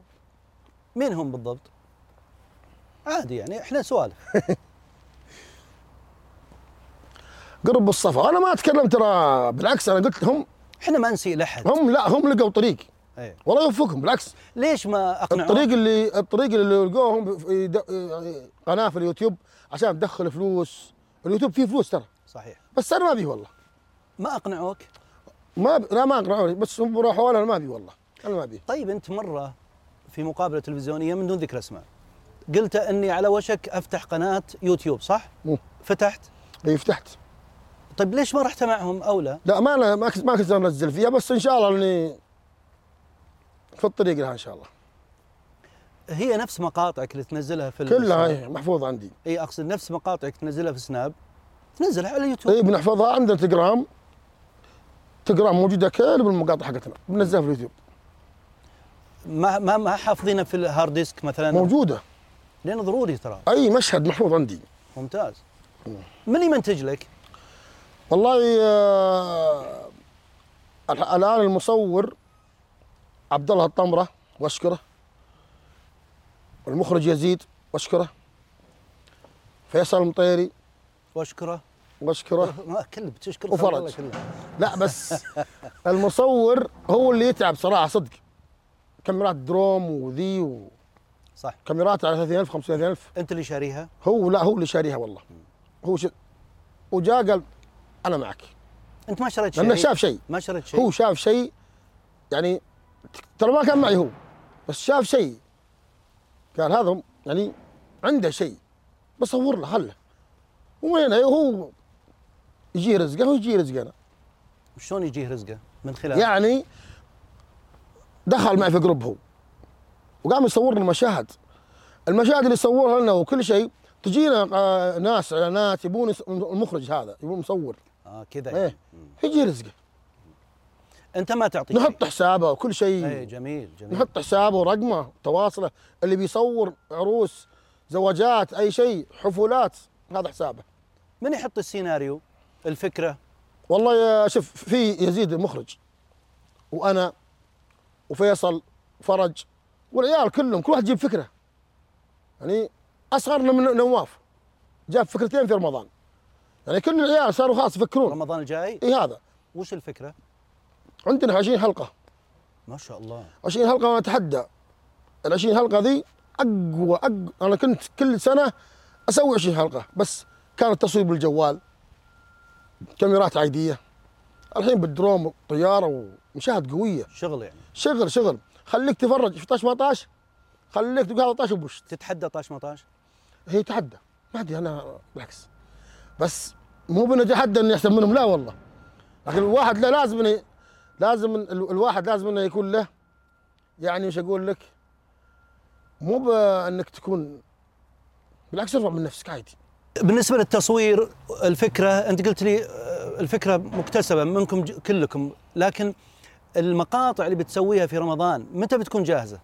مين هم بالضبط؟ عادي يعني احنا سوالف قرب الصفا انا ما اتكلم ترى بالعكس انا قلت لهم احنا ما نسيء لاحد هم لا هم لقوا طريق ايه. والله يوفقهم بالعكس ليش ما اقنعوك؟ الطريق اللي الطريق اللي لقوهم في يد- يعني قناه في اليوتيوب عشان تدخل فلوس اليوتيوب فيه فلوس ترى صحيح بس انا ما بي والله ما اقنعوك ما بي- لا ما اقنعوني بس هم راحوا انا ما بي والله انا ما بي طيب انت مره في مقابله تلفزيونيه من دون ذكر اسماء قلت اني على وشك افتح قناه يوتيوب صح؟ مم. فتحت اي فتحت طيب ليش ما رحت معهم او لا؟ لا ما انا ما كنت ما كنت انزل فيها بس ان شاء الله اني في الطريق لها ان شاء الله هي نفس مقاطعك اللي تنزلها في كلها إيه. هي محفوظه عندي اي اقصد نفس مقاطعك تنزلها في سناب تنزلها على يوتيوب اي بنحفظها عند التليجرام التليجرام موجوده كل بالمقاطع حقتنا بننزلها في اليوتيوب ما ما ما حافظينها في الهارد ديسك مثلا موجوده لانه ضروري ترى اي مشهد محفوظ عندي ممتاز من يمنتج لك؟ والله آه الح- الان المصور عبد الله الطمره واشكره والمخرج يزيد واشكره فيصل المطيري واشكره واشكره ما كل بتشكر وفرج. خلق الله كله. لا بس المصور هو اللي يتعب صراحه صدق كاميرات دروم وذي صح وكاميرات على 30000 50000 انت اللي شاريها هو لا هو اللي شاريها والله هو ش... وجاء قال انا معك انت ما شريت شيء لانه شاف شيء ما شريت شيء هو شاف شيء يعني ترى ما كان معي هو بس شاف شيء قال هذا يعني عنده شيء بصور له خله ومن هنا هو يجي رزقه ويجي رزقنا شلون يجيه رزقه من خلال يعني دخل معي في جروب هو وقام يصور لنا مشاهد المشاهد اللي صورها لنا وكل شيء تجينا آه، ناس اعلانات يبون يس- المخرج هذا يبون مصور اه كذا يعني. ايه يجي رزقه انت ما تعطي شيء. نحط حسابه وكل ايه شيء جميل جميل نحط حسابه ورقمه تواصله اللي بيصور عروس زواجات اي شيء حفلات هذا حسابه من يحط السيناريو الفكره والله يا شوف في يزيد المخرج وانا وفيصل فرج والعيال كلهم كل واحد يجيب فكره يعني اصغرنا من نواف جاب فكرتين في رمضان يعني كل العيال صاروا خلاص يفكرون رمضان الجاي اي هذا وش الفكره عندنا 20 حلقه ما شاء الله 20 حلقه وانا اتحدى ال 20 حلقه ذي اقوى اقوى انا كنت كل سنه اسوي 20 حلقه بس كان التصوير بالجوال كاميرات عاديه الحين بالدروم طياره ومشاهد قويه شغل يعني شغل شغل خليك تفرج 16 17 خليك تقول هذا طاش وبوش تتحدى طاش مطاش هي تحدى ما ادري انا بالعكس بس مو بنتحدى اني احسن منهم لا والله لكن الواحد لا لازم إنه- لازم إن- ال- الواحد لازم انه يكون له يعني وش اقول لك مو بانك تكون بالعكس ارفع من نفسك عادي بالنسبه للتصوير الفكره انت قلت لي آه، الفكره مكتسبه منكم ج- كلكم لكن المقاطع اللي بتسويها في رمضان متى بتكون جاهزه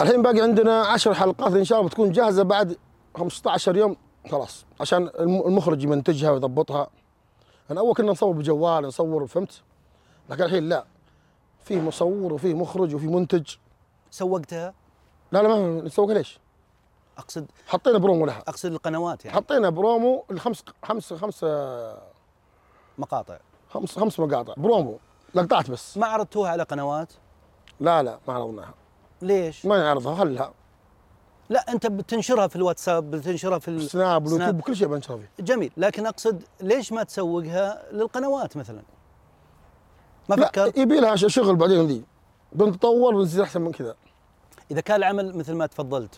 الحين باقي عندنا 10 حلقات ان شاء الله بتكون جاهزه بعد 15 يوم خلاص عشان الم- المخرج يمنتجها ويضبطها انا اول كنا نصور بجوال نصور فهمت لكن الحين لا في مصور وفي مخرج وفي منتج سوقتها لا لا ما نسوق ليش اقصد حطينا برومو لها اقصد القنوات يعني حطينا برومو الخمس خمس خمس مقاطع خمس خمس مقاطع برومو لقطات بس ما عرضتوها على قنوات لا لا ما عرضناها ليش؟ ما نعرضها خلها لا انت بتنشرها في الواتساب بتنشرها في ال- سناب سناب. واليوتيوب وكل شيء بنشر فيه جميل لكن اقصد ليش ما تسوقها للقنوات مثلا؟ ما لا إيه. فكرت يبي لها ش- شغل بعدين ذي بنتطور ونصير احسن من كذا اذا كان العمل مثل ما تفضلت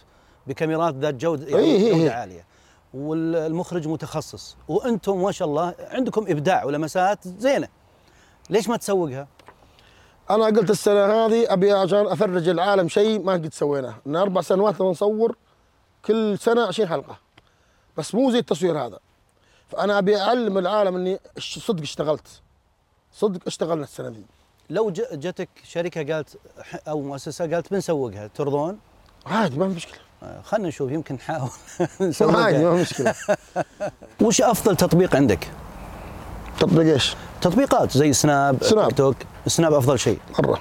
بكاميرات ذات جوده يعني إيه إيه إيه. جوده عاليه والمخرج متخصص وانتم ما شاء الله عندكم ابداع ولمسات زينه ليش ما تسوقها؟ انا قلت السنه هذه ابي عشان افرج العالم شيء ما قد سويناه من اربع سنوات أنا نصور كل سنه 20 حلقه بس مو زي التصوير هذا فانا ابي اعلم العالم اني ش- صدق اشتغلت صدق اشتغلنا السنه ذي لو ج- جتك شركه قالت ح- او مؤسسه قالت بنسوقها ترضون؟ عادي ما في مشكله آه، خلنا نشوف يمكن نحاول عادي نسوقها ما في مشكله وش افضل تطبيق عندك؟ تطبيق ايش؟ تطبيقات زي سناب, سناب. تيك توك سناب افضل شيء مره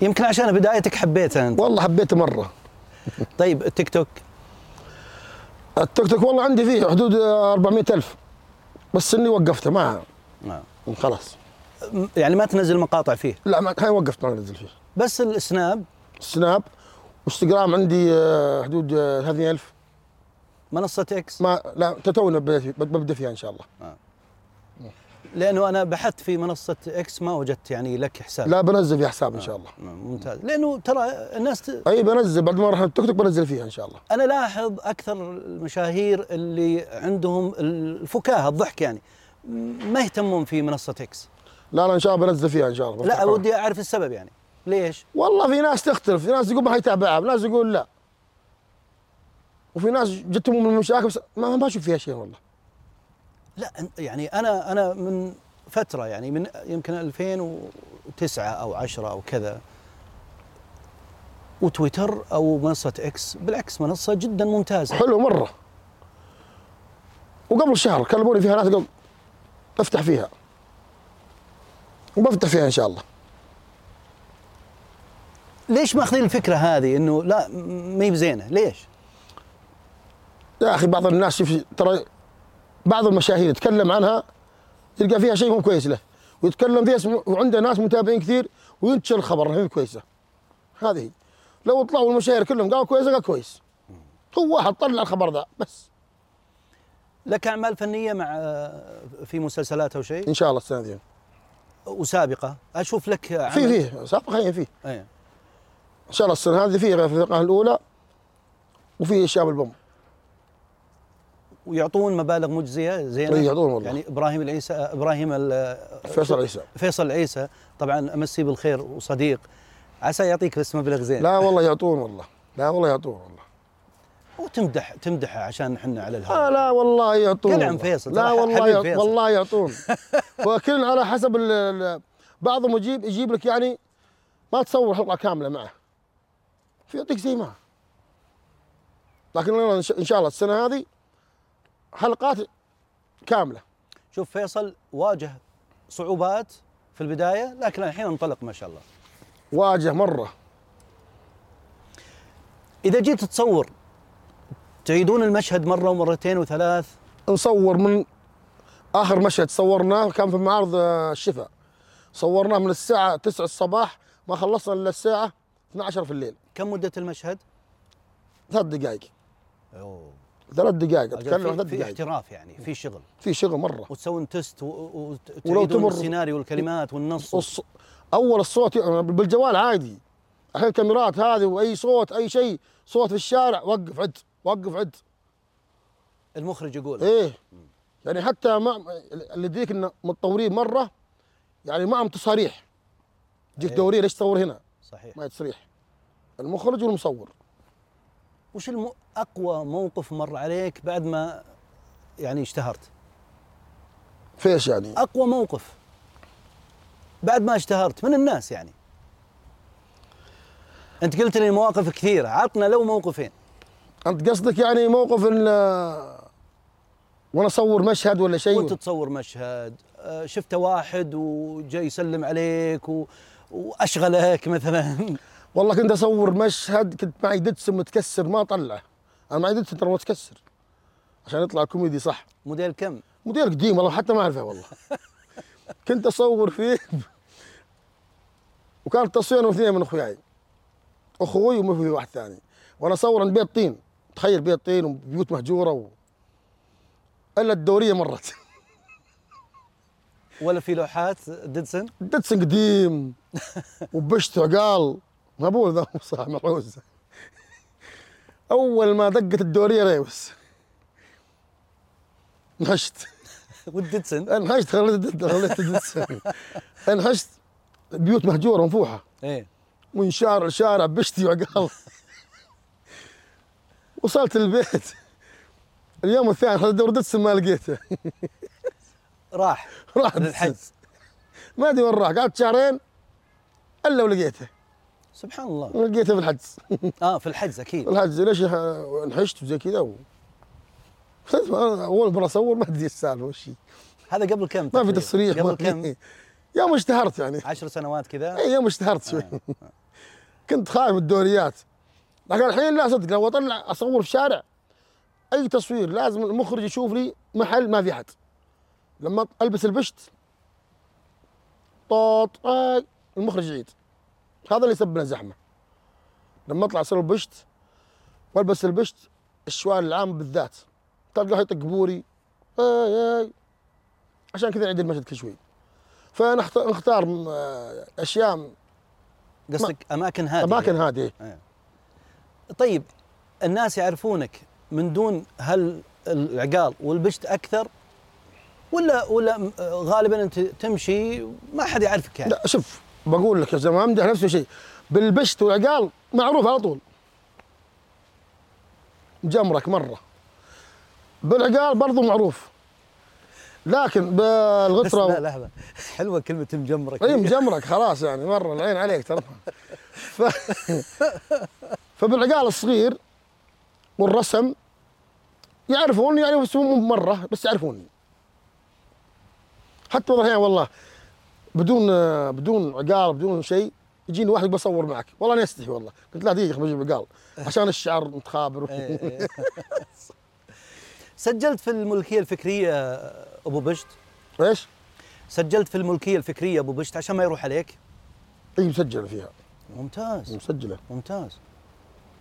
يمكن عشان بدايتك حبيتها انت والله حبيته مره طيب التيك توك التيك توك والله عندي فيه حدود 400 ألف بس اني وقفته ما نعم. خلاص م- يعني ما تنزل مقاطع فيه لا ما هاي وقفت ما انزل فيه بس السناب سناب وانستغرام عندي آه، حدود آه، هذه ألف منصة اكس ما لا تتونا ببدا فيها ان شاء الله لانه انا بحثت في منصة اكس ما وجدت يعني لك حساب لا بنزل فيها حساب ان شاء الله م- ممتاز لانه ترى الناس ت... اي بنزل بعد ما راح التيك توك بنزل فيها ان شاء الله انا لاحظ اكثر المشاهير اللي عندهم الفكاهة الضحك يعني م- ما يهتمون في منصة اكس لا لا ان شاء الله بنزل فيها ان شاء الله لا ودي اعرف السبب يعني ليش والله في ناس تختلف في ناس يقول ما يتابعها في ناس يقول لا وفي ناس جتهم من المشاكل بس ما ما اشوف فيها شيء والله لا أن- يعني انا انا من فتره يعني من يمكن 2009 او 10 او كذا وتويتر او منصه اكس بالعكس منصه جدا ممتازه حلو مره وقبل شهر كلموني فيها ناس قالوا افتح فيها وبفتح فيها ان شاء الله ليش ماخذين الفكره هذه انه لا م- ما هي بزينه ليش يا اخي بعض الناس شوف ترى بعض المشاهير يتكلم عنها يلقى فيها شيء مو كويس له ويتكلم فيها اسم- وعنده ناس متابعين كثير وينتشر الخبر انها هي كويسه هذه هي. لو طلعوا المشاهير كلهم قالوا كويسه قال كويس هو واحد طلع الخبر ذا بس لك اعمال فنيه مع آه، في مسلسلات او شيء ان شاء الله السنه ذي وسابقه اشوف لك في عمل إيه. فيه سابقا فيه في ان شاء الله السنه هذه فيه في الفرقه الاولى وفي شاب البوم ويعطون مبالغ مجزيه زينه إيه، يعطون والله. يعني ابراهيم العيسى ابراهيم ال- فيصل عيسى فيصل عيسى طبعا امسيه بالخير وصديق عسى يعطيك بس مبلغ زين لا والله يعطون والله لا والله يعطون والله وتمدح تمدحه عشان احنا على آه الهواء لا والله يعطون قل عن فيصل، لا ترى والله حبيب يعط- فيصل. والله يعطون وكل على حسب ال- ال- بعضهم يجيب يجيب لك يعني ما تصور حلقه كامله معه فيعطيك زي ما لكن انا ان شاء إن شاء الله السنه هذه حلقات كامله شوف فيصل واجه صعوبات في البدايه لكن الحين انطلق ما شاء الله واجه مره اذا جيت تصور تعيدون المشهد مره ومرتين وثلاث نصور من اخر مشهد صورناه كان في معرض آه، الشفا صورناه من الساعه 9 الصباح ما خلصنا الا الساعه 12 في الليل كم مده المشهد؟ ثلاث دقائق أوه. ثلاث دقائق اتكلم عن في, ثلاث في دقائق احتراف يعني في شغل في شغل مره وتسوون تست و- و- ولو وتعيدون تمر- السيناريو والكلمات والنص والص... اول الصوت ي- بالجوال عادي الحين الكاميرات هذه واي صوت اي شيء صوت في الشارع وقف عد وقف عد المخرج يقول ايه يعني حتى ما اللي يديك ان متطورين مره يعني معهم تصاريح جيك إيه. دوريه ليش تصور هنا؟ صحيح ما هي تصريح المخرج والمصور وش الم... اقوى موقف مر عليك بعد ما يعني اشتهرت؟ فيش يعني اقوى موقف بعد ما اشتهرت من الناس يعني انت قلت لي مواقف كثيره عطنا لو موقفين انت قصدك يعني موقف ان آه، وانا اصور مشهد ولا وانت شيء تصور مشهد آه، شفته واحد وجاي يسلم عليك و... واشغلك مثلا والله كنت اصور مشهد كنت معي دتس متكسر ما طلعه انا معي دتس ترى متكسر عشان يطلع كوميدي صح موديل كم؟ مدير قديم والله حتى ما اعرفه والله كنت اصور فيه وكان التصوير انا واثنين من اخوياي اخوي وما في واحد ثاني وانا اصور عند بيت طين تخيل بيت طين وبيوت مهجوره و... الا الدوريه مرت ولا في لوحات ديدسن؟ دتسن قديم وبشت عقال ما ابوه ذا صح محوز اول ما دقت الدوريه ريوس نهشت والديدسن انهشت خليت خليت الدتسن. انهشت بيوت مهجوره منفوحه ايه من شارع لشارع بشتي وعقال وصلت البيت اليوم الثاني خليت دور دتسن ما لقيته راح راح للحج دتسن. ما ادري وين راح قعدت شهرين الا ولقيته سبحان الله لقيته في الحجز اه في الحج اكيد الحج ليش ح- انحشت وزي كذا و... أنا اول مره اصور ما ادري السالفه وش هي. هذا قبل كم؟ ما في تقريباً؟ تصريح ما قبل كم؟ في- يوم اشتهرت يعني عشر سنوات كذا اي إيه، يوم اشتهرت شوي كنت خايف من الدوريات لكن الحين لا صدق لو اطلع اصور في شارع اي تصوير لازم المخرج يشوف لي محل ما في احد لما البس البشت طوط آي، المخرج يعيد هذا اللي يسبب لنا زحمه لما اطلع اصور البشت والبس البشت الشوارع العام بالذات تلقاه يطق بوري اي اي عشان كذا عيد المشهد كل شوي فنختار م- آه، اشياء قصدك اماكن هاديه اماكن هاديه طيب الناس يعرفونك من دون هل العقال والبشت اكثر ولا ولا م- غالبا انت تمشي ما حد يعرفك يعني لا شوف بقول لك يا زلمه امدح نفسي شيء بالبشت والعقال معروف على طول جمرك مره بالعقال برضو معروف لكن بس لا بالغتره لحظه حلوه كلمه مجمرك اي مجمرك طيب، خلاص يعني مره العين عليك ترى ف... فبالعقال الصغير والرسم يعرفوني يعني بس مو مره بس يعرفوني حتى بعض الاحيان والله بدون بدون عقال بدون شيء يجيني واحد يقول بصور معك والله انا استحي والله قلت لا دقيقه بجيب عقال عشان الشعر متخابر إيه، إيه. سجلت في الملكيه الفكريه ابو بشت ايش؟ سجلت في الملكيه الفكريه ابو بشت عشان ما يروح عليك اي مسجله إيه، فيها ممتاز مسجله ممتاز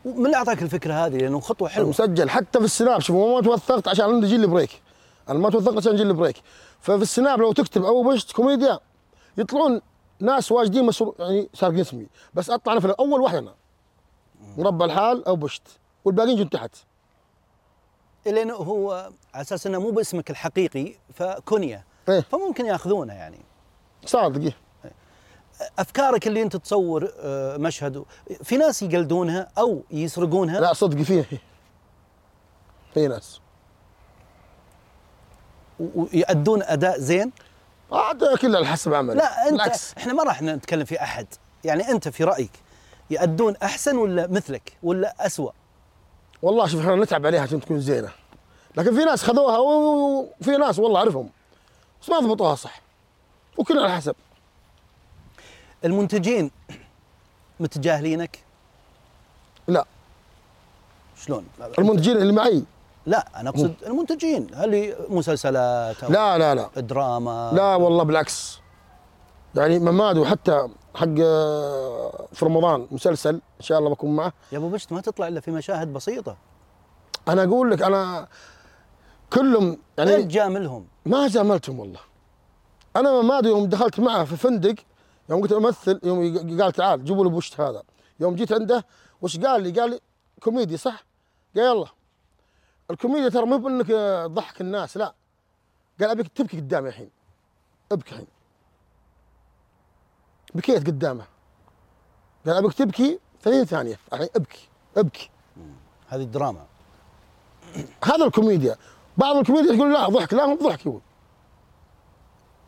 ومن اللي اعطاك الفكره هذه لانه خطوه حلوه مسجل حتى في السناب شوف هو ما توثقت عشان عندي جيل بريك انا ما توثقت عشان جيل بريك ففي السناب لو تكتب او بشت كوميديا يطلعون ناس واجدين مسرو يعني سارقين اسمي بس اطلع انا في الاول واحد انا مربى الحال او بشت والباقيين جون تحت لانه هو على اساس انه مو باسمك الحقيقي فكنيه ايه فممكن ياخذونه يعني صادق إيه. افكارك اللي انت تصور آه، مشهد في ناس يقلدونها او يسرقونها لا صدق فيه في ناس و- ويأدون اداء زين عاد كله على حسب عمله لا انت بالعكس احنا ما راح نتكلم في احد يعني انت في رايك يأدون احسن ولا مثلك ولا اسوء والله شوف احنا نتعب عليها عشان تكون زينه لكن في ناس خذوها و- وفي ناس والله اعرفهم بس ما ضبطوها صح وكلنا على حسب المنتجين متجاهلينك لا شلون المنتجين اللي معي لا انا اقصد المنتجين هل مسلسلات أو لا لا لا دراما لا والله بالعكس يعني مماد وحتى حق آه، في رمضان مسلسل ان شاء الله بكون معه يا ابو بشت ما تطلع الا في مشاهد بسيطه انا اقول لك انا كلهم لا يعني تجاملهم ما جاملتهم والله انا مماد يوم دخلت معه في فندق يوم قلت امثل يوم قال تعال جيبوا لي بوشت هذا يوم جيت عنده وش قال لي؟ قال لي كوميدي صح؟ قال يلا الكوميديا ترى مو بانك آه، تضحك الناس لا قال ابيك تبكي قدامي الحين ابكي الحين بكيت قدامه قال ابيك تبكي 30 ثانيه الحين ابكي ابكي هذه الدراما هذا الكوميديا بعض الكوميديا يقول لا ضحك لا مو ضحك يقول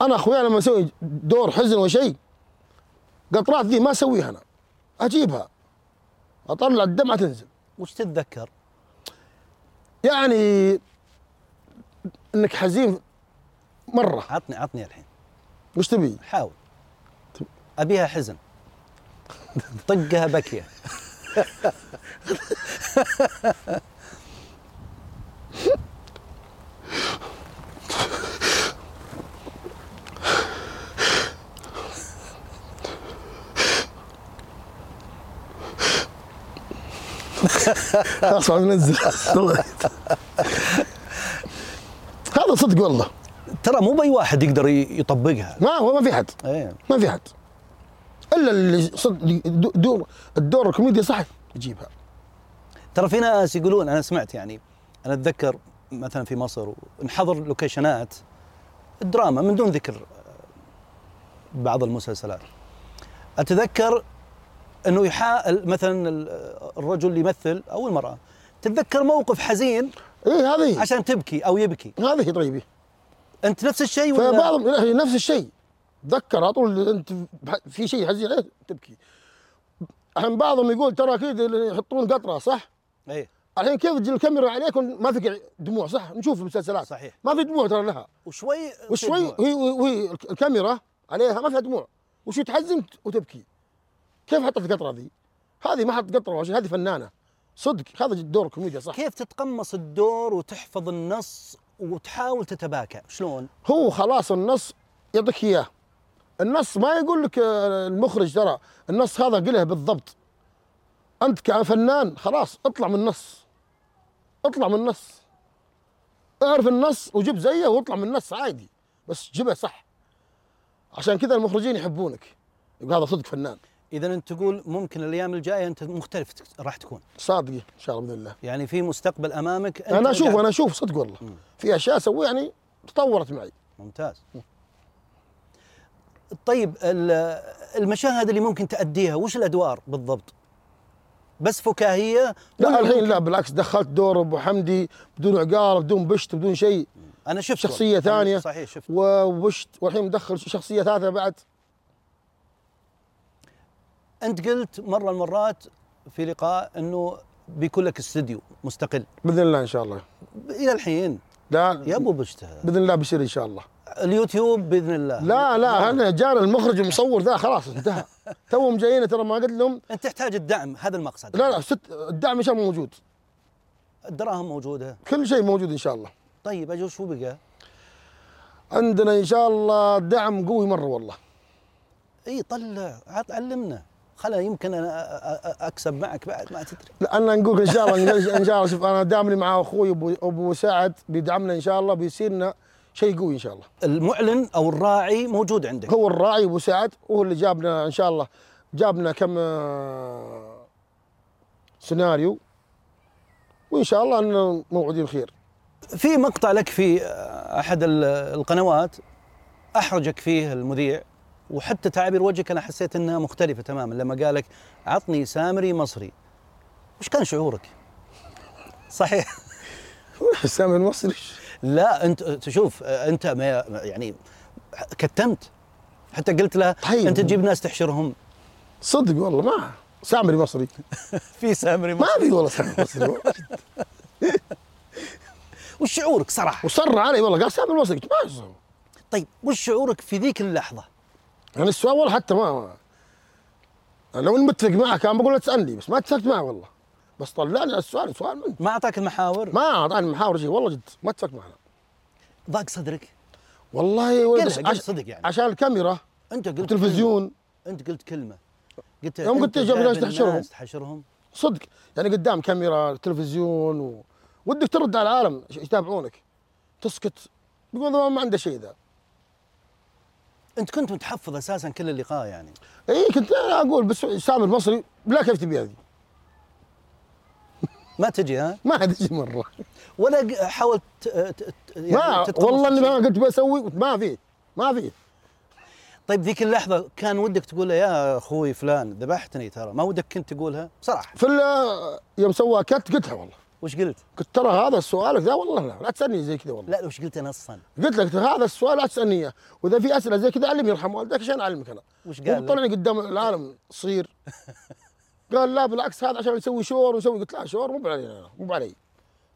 انا اخويا لما اسوي دور حزن ولا شيء قطرات ذي ما اسويها انا اجيبها اطلع الدمعه تنزل وش تتذكر؟ يعني انك حزين مره عطني عطني الحين وش تبي؟ حاول ابيها حزن طقها بكيه خلاص بعد ننزل والله. هذا صدق والله ترى مو باي واحد يقدر ي- يطبقها ما هو ما في حد ايه ما في حد الا اللي صدق دو- دور الدور الكوميديا صح يجيبها ترى في ناس يقولون انا سمعت يعني انا اتذكر مثلا في مصر نحضر لوكيشنات الدراما من دون ذكر آه، بعض المسلسلات اتذكر انه يحا مثلا ال- آه، الرجل اللي يمثل او المراه تتذكر موقف حزين اي إيه، هذه عشان تبكي او يبكي هذه طيبه انت نفس الشيء ولا فبعضهم لا، هي نفس الشيء تذكر على طول انت بح- في شيء حزين عليه تبكي الحين بعضهم يقول ترى اكيد اللي يحطون قطره صح؟ ايه الحين كيف تجي الكاميرا عليك ما في دموع صح؟ نشوف في المسلسلات صحيح. ما في دموع ترى لها وشوي وشوي دموع. وهي وهي الك- الكاميرا عليها ما فيها دموع وشي تحزن وتبكي كيف حطت القطره ذي؟ هذه ما حطت قطره ولا شيء، هذه فنانه صدق هذا الدور الكوميديا صح كيف تتقمص الدور وتحفظ النص وتحاول تتباكى شلون هو خلاص النص يعطيك اياه النص ما يقول لك آه، المخرج ترى النص هذا قله بالضبط انت كفنان خلاص اطلع من النص اطلع من النص اعرف النص وجيب زيه واطلع من النص عادي بس جيبه صح عشان كذا المخرجين يحبونك يقول هذا صدق فنان اذا انت تقول ممكن الايام الجايه انت مختلف تك- راح تكون صادقي ان شاء الله باذن الله يعني في مستقبل امامك أنت انا اشوف قاعد- انا اشوف صدق والله في اشياء اسويها يعني تطورت معي ممتاز طيب ال- المشاهد اللي ممكن تأديها وش الادوار بالضبط بس فكاهيه لا ولا الحين ممكن- لا بالعكس دخلت دور ابو حمدي بدون عقال بدون بشت بدون شيء انا شفت شخصية والله. أنا ثانية. صحيح شفت ووشت والحين مدخل شخصيه ثالثه بعد انت قلت مره المرات في لقاء انه بيكون لك استديو مستقل باذن الله ان شاء الله الى الحين لا يا ابو بشته باذن الله بيصير ان شاء الله اليوتيوب باذن الله لا لا انا جار المخرج المصور ذا خلاص انتهى توهم جايين ترى ما قلت لهم انت تحتاج الدعم هذا المقصد لا لا ست الدعم ان شاء الله موجود الدراهم موجوده كل شيء موجود ان شاء الله طيب اجل شو بقى؟ عندنا ان شاء الله دعم قوي مره والله اي طلع عط علمنا خلا يمكن انا أ- أ- اكسب معك بعد ما تدري لا انا نقول ان شاء الله ان شاء الله شوف انا دامني مع اخوي ابو ابو سعد بيدعمنا ان شاء الله بيصير لنا شيء قوي ان شاء الله المعلن او الراعي موجود عندك هو الراعي ابو سعد وهو اللي جابنا ان شاء الله جابنا كم آه، سيناريو وان شاء الله انه موعودين خير في مقطع لك في آه، احد ال- القنوات احرجك فيه المذيع وحتى تعابير وجهك انا حسيت انها مختلفه تماما لما قالك عطني سامري مصري وش كان شعورك؟ صحيح سامي المصري لا انت تشوف آه، انت ما ما- يعني كتمت حتى قلت له طيب. انت تجيب ناس تحشرهم صدق والله ما سامري مصري في سامري ما مصري في والله سامري مصري والله. وش شعورك صراحه؟ وصر علي والله قال سامري مصري قلت ما يصير. طيب وش شعورك في ذيك اللحظة؟ يعني السؤال والله حتى ما, ما. أنا لو اني متفق معه كان بقول له تسالني بس ما اتفقت معه والله بس طلعني السؤال سؤال منه ما أعطاك المحاور؟ ما اعطاني محاور شيء والله جد ما اتفقت معنا ضاق صدرك؟ والله قلها، بس قلها صدق يعني. عشان الكاميرا أنت قلت والتلفزيون كلمة. أنت قلت كلمة قلت يوم قلت أنت جاب ناس جايب تحشرهم. الناس تحشرهم صدق يعني قدام كاميرا تلفزيون و... ودك ترد على العالم ش- يتابعونك تسكت يقول ذا ما عنده شيء ذا أنت كنت متحفظ أساسا كل اللقاء يعني اي كنت أنا اقول بس سامر المصري لا كيف تبي هذه ما تجي ها؟ ما عاد يجي مره ولا ق- حاولت آه، ت- ت- يعني ما تتقمص والله اني الشيء. ما كنت بسوي ما في ما في طيب ذيك اللحظة كان ودك تقول له يا أخوي فلان ذبحتني ترى ما ودك كنت تقولها بصراحة في ال- يوم سوى كت قلتها والله وش قلت؟ قلت ترى هذا سؤالك ذا والله لا لا تسالني زي كذا والله لا وش قلت أنا أصلا؟ قلت لك هذا السؤال لا تسالني اياه واذا في اسئله زي كذا علمني يرحم والدك عشان اعلمك انا وش قال لك؟ وطلعني قدام العالم صير قال لا بالعكس هذا عشان يسوي شور ويسوي قلت لا شور مو علي انا مو علي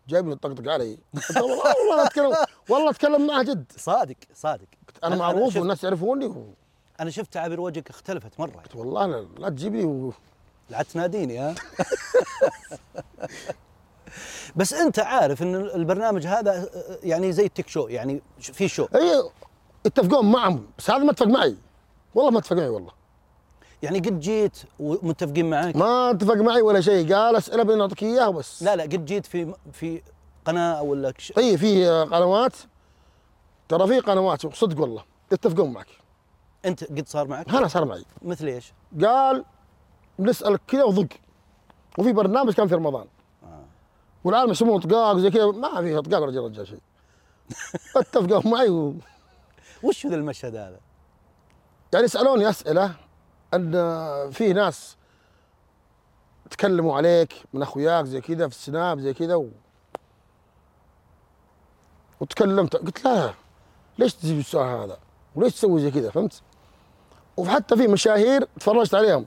جايب لي طقطق علي قلت له والله والله أنا اتكلم والله اتكلم معه جد صادق صادق انا معروف شفت, والناس يعرفوني و- انا شفت تعابير وجهك اختلفت مره قلت والله لا, لا تجيب لي و- لا تناديني ها بس انت عارف ان البرنامج هذا يعني زي التيك شو يعني ش- في شو اي يتفقون معهم بس هذا ما اتفق معي والله ما اتفق معي والله يعني قد جيت ومتفقين معك ما اتفق معي ولا شيء قال اسئله بنعطيك اياها بس لا لا قد جيت في في قناه ولا كش... طيب في قنوات ترى في قنوات صدق والله يتفقون معك انت قد صار معك انا صار معي مثل ايش؟ قال بنسالك كذا وضق وفي برنامج كان في رمضان والعالم يسمونه اطقاق زي كذا ما في اطقاق رجال رجال شيء اتفقوا معي و... وش ذا المشهد هذا؟ يعني سالوني اسئله ان في ناس تكلموا عليك من اخوياك زي كذا في السناب زي كذا و... وتكلمت قلت لا ليش تجيب السؤال هذا؟ وليش تسوي زي كذا فهمت؟ وحتى في مشاهير تفرجت عليهم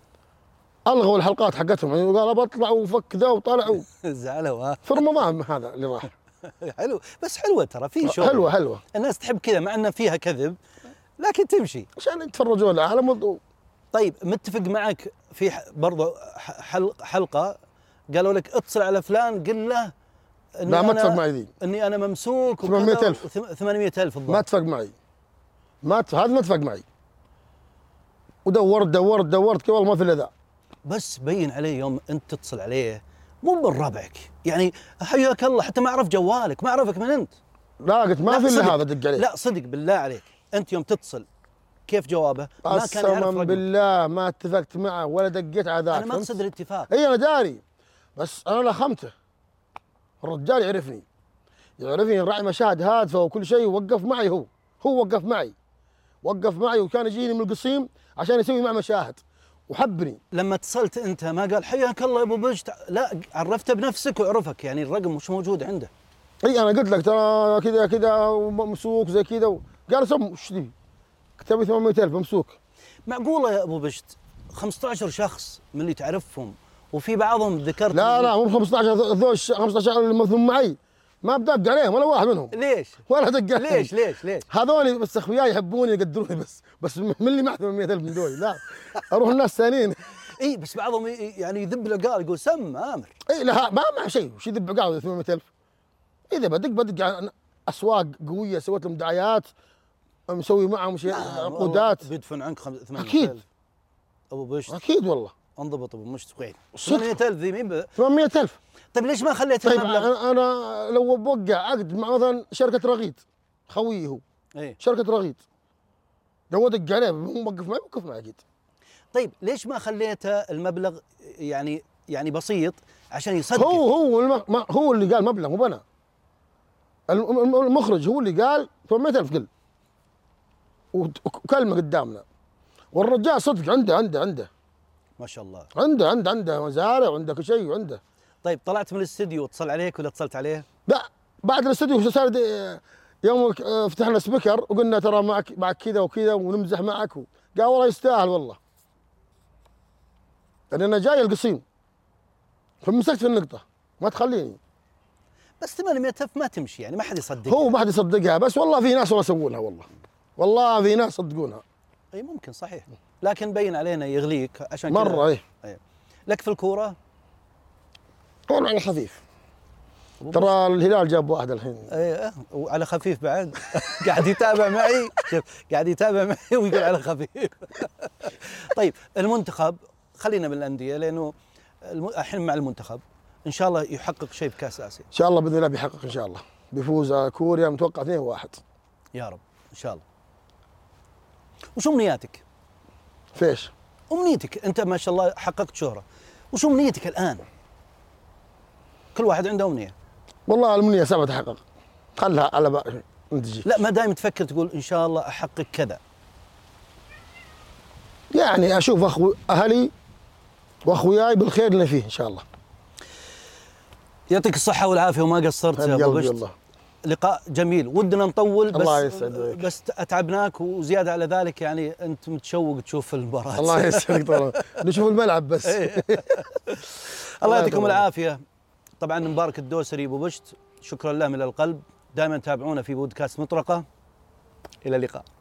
الغوا الحلقات حقتهم يعني قالوا بطلع وفك ذا وطلع و- زعلوا ها في رمضان هذا اللي راح إيه حلو بس حلوه ترى في شو حلوه حلوه الناس تحب كذا مع ان فيها كذب لكن تمشي عشان يتفرجون العالم و- طيب متفق معك في ح- برضو ح- حلق حلقه قالوا لك اتصل على فلان قل له إني لا ما أنا- اتفق معي ذي اني انا ممسوك 800,000. 800000 ما الظاهر اتفق معي ما ت- هذا ما اتفق معي ودورت دورت دورت والله ما في الا ذا بس بين عليه يوم انت تتصل عليه مو من ربعك يعني حياك الله حتى ما اعرف جوالك ما اعرفك من انت لا قلت ما لا، في صدق. الا هذا دق عليه لا صدق بالله عليك انت يوم تتصل كيف جوابه؟ ما كان يعرف قسما رقمك. بالله ما اتفقت معه ولا دقيت على ذاك انا ما فهمت؟ اقصد الاتفاق اي انا داري بس انا لخمته الرجال يعرفني يعرفني راعي مشاهد هادفه وكل شيء ووقف معي هو هو وقف معي وقف معي وكان يجيني من القصيم عشان يسوي مع مشاهد وحبني لما اتصلت انت ما قال حياك الله يا ابو بج تع- لا عرفته بنفسك وعرفك يعني الرقم مش موجود عنده اي انا قلت لك ترى كذا كذا وممسوك زي كذا و- قال سم وش ذي؟ كتبي 800000 ممسوك معقوله يا ابو بشت 15 شخص من اللي تعرفهم وفي بعضهم ذكرت لا لا مو ب 15 ذو- ذو الش- 15 اللي مثلهم معي ما بدق عليهم ولا واحد منهم ليش؟ ولا دق عليهم ليش ليش ليش؟ هذول بس اخوياي يحبوني يقدروني بس بس من اللي معهم 100000 من دول لا اروح الناس ثانيين اي بس بعضهم ي- يعني يذب العقال يقول سم عامر اي لا ما مع شيء وش يذب قاعد 800000 اذا بدق بدق على اسواق قويه سويت لهم دعايات مسوي معهم شيء عقودات والله آه، بيدفن عنك خم- 8000 أكيد. ابو بشت اكيد والله انضبط ابو مشت وين؟ صدق. 800000 ذي مين ب- 800000 طيب ليش ما خليت طيب المبلغ؟ انا انا لو بوقع عقد مع مثلا شركه رغيد خويي هو ايه شركه رغيد لو ادق عليه هو موقف معي موقف معي اكيد طيب ليش ما خليته المبلغ يعني يعني بسيط عشان يصدق هو هو الم... ما- هو اللي قال مبلغ مو انا الم- الم- المخرج هو اللي قال 800000 قل وت- وكلمه قدامنا والرجال صدق عنده عنده عنده ما شاء الله عنده عنده عنده مزارع وعنده كل شيء وعنده طيب طلعت من الاستديو واتصل عليك ولا اتصلت عليه؟ لا بعد الاستوديو صار دي- يوم ك- آه، فتحنا سبيكر وقلنا ترى معك معك كذا وكذا ونمزح معك و- قال والله يستاهل والله لان انا جاي القصيم فمسكت في النقطه ما تخليني بس 800000 ما تمشي يعني ما حد يصدق هو ما حد يصدقها بس والله في ناس والله يسوونها والله والله في ناس يصدقونها اي ممكن صحيح لكن بين علينا يغليك عشان كذا. مره ايه أي. لك في الكوره طول على خفيف ترى الهلال جاب واحد الحين اي وعلى خفيف بعد قاعد يتابع معي شوف قاعد يتابع معي ويقول على خفيف طيب المنتخب خلينا من الانديه لانه الم- الحين مع المنتخب ان شاء الله يحقق شيء في كاس اسيا ان شاء الله باذن الله بيحقق ان شاء الله بيفوز على كوريا متوقع 2-1 يا رب ان شاء الله وش امنياتك؟ فيش امنيتك انت ما شاء الله حققت شهره وش امنيتك الان؟ كل واحد عنده امنيه والله الامنيه سبعة تحقق خلها على بقى تجي لا ما دائما تفكر تقول ان شاء الله احقق كذا يعني اشوف اخو اهلي واخوياي بالخير اللي فيه ان شاء الله يعطيك الصحه والعافيه وما قصرت يا هذا ابو قلبي بشت والله لقاء جميل ودنا نطول بس الله يسعد وياك. بس اتعبناك وزياده على ذلك يعني انت متشوق تشوف المباراه الله يسعدك والله نشوف الملعب بس الله يعطيكم يطول عمرك. العافيه طبعا مبارك الدوسري ابو بشت شكرا له من القلب دائما تابعونا في بودكاست مطرقه الى اللقاء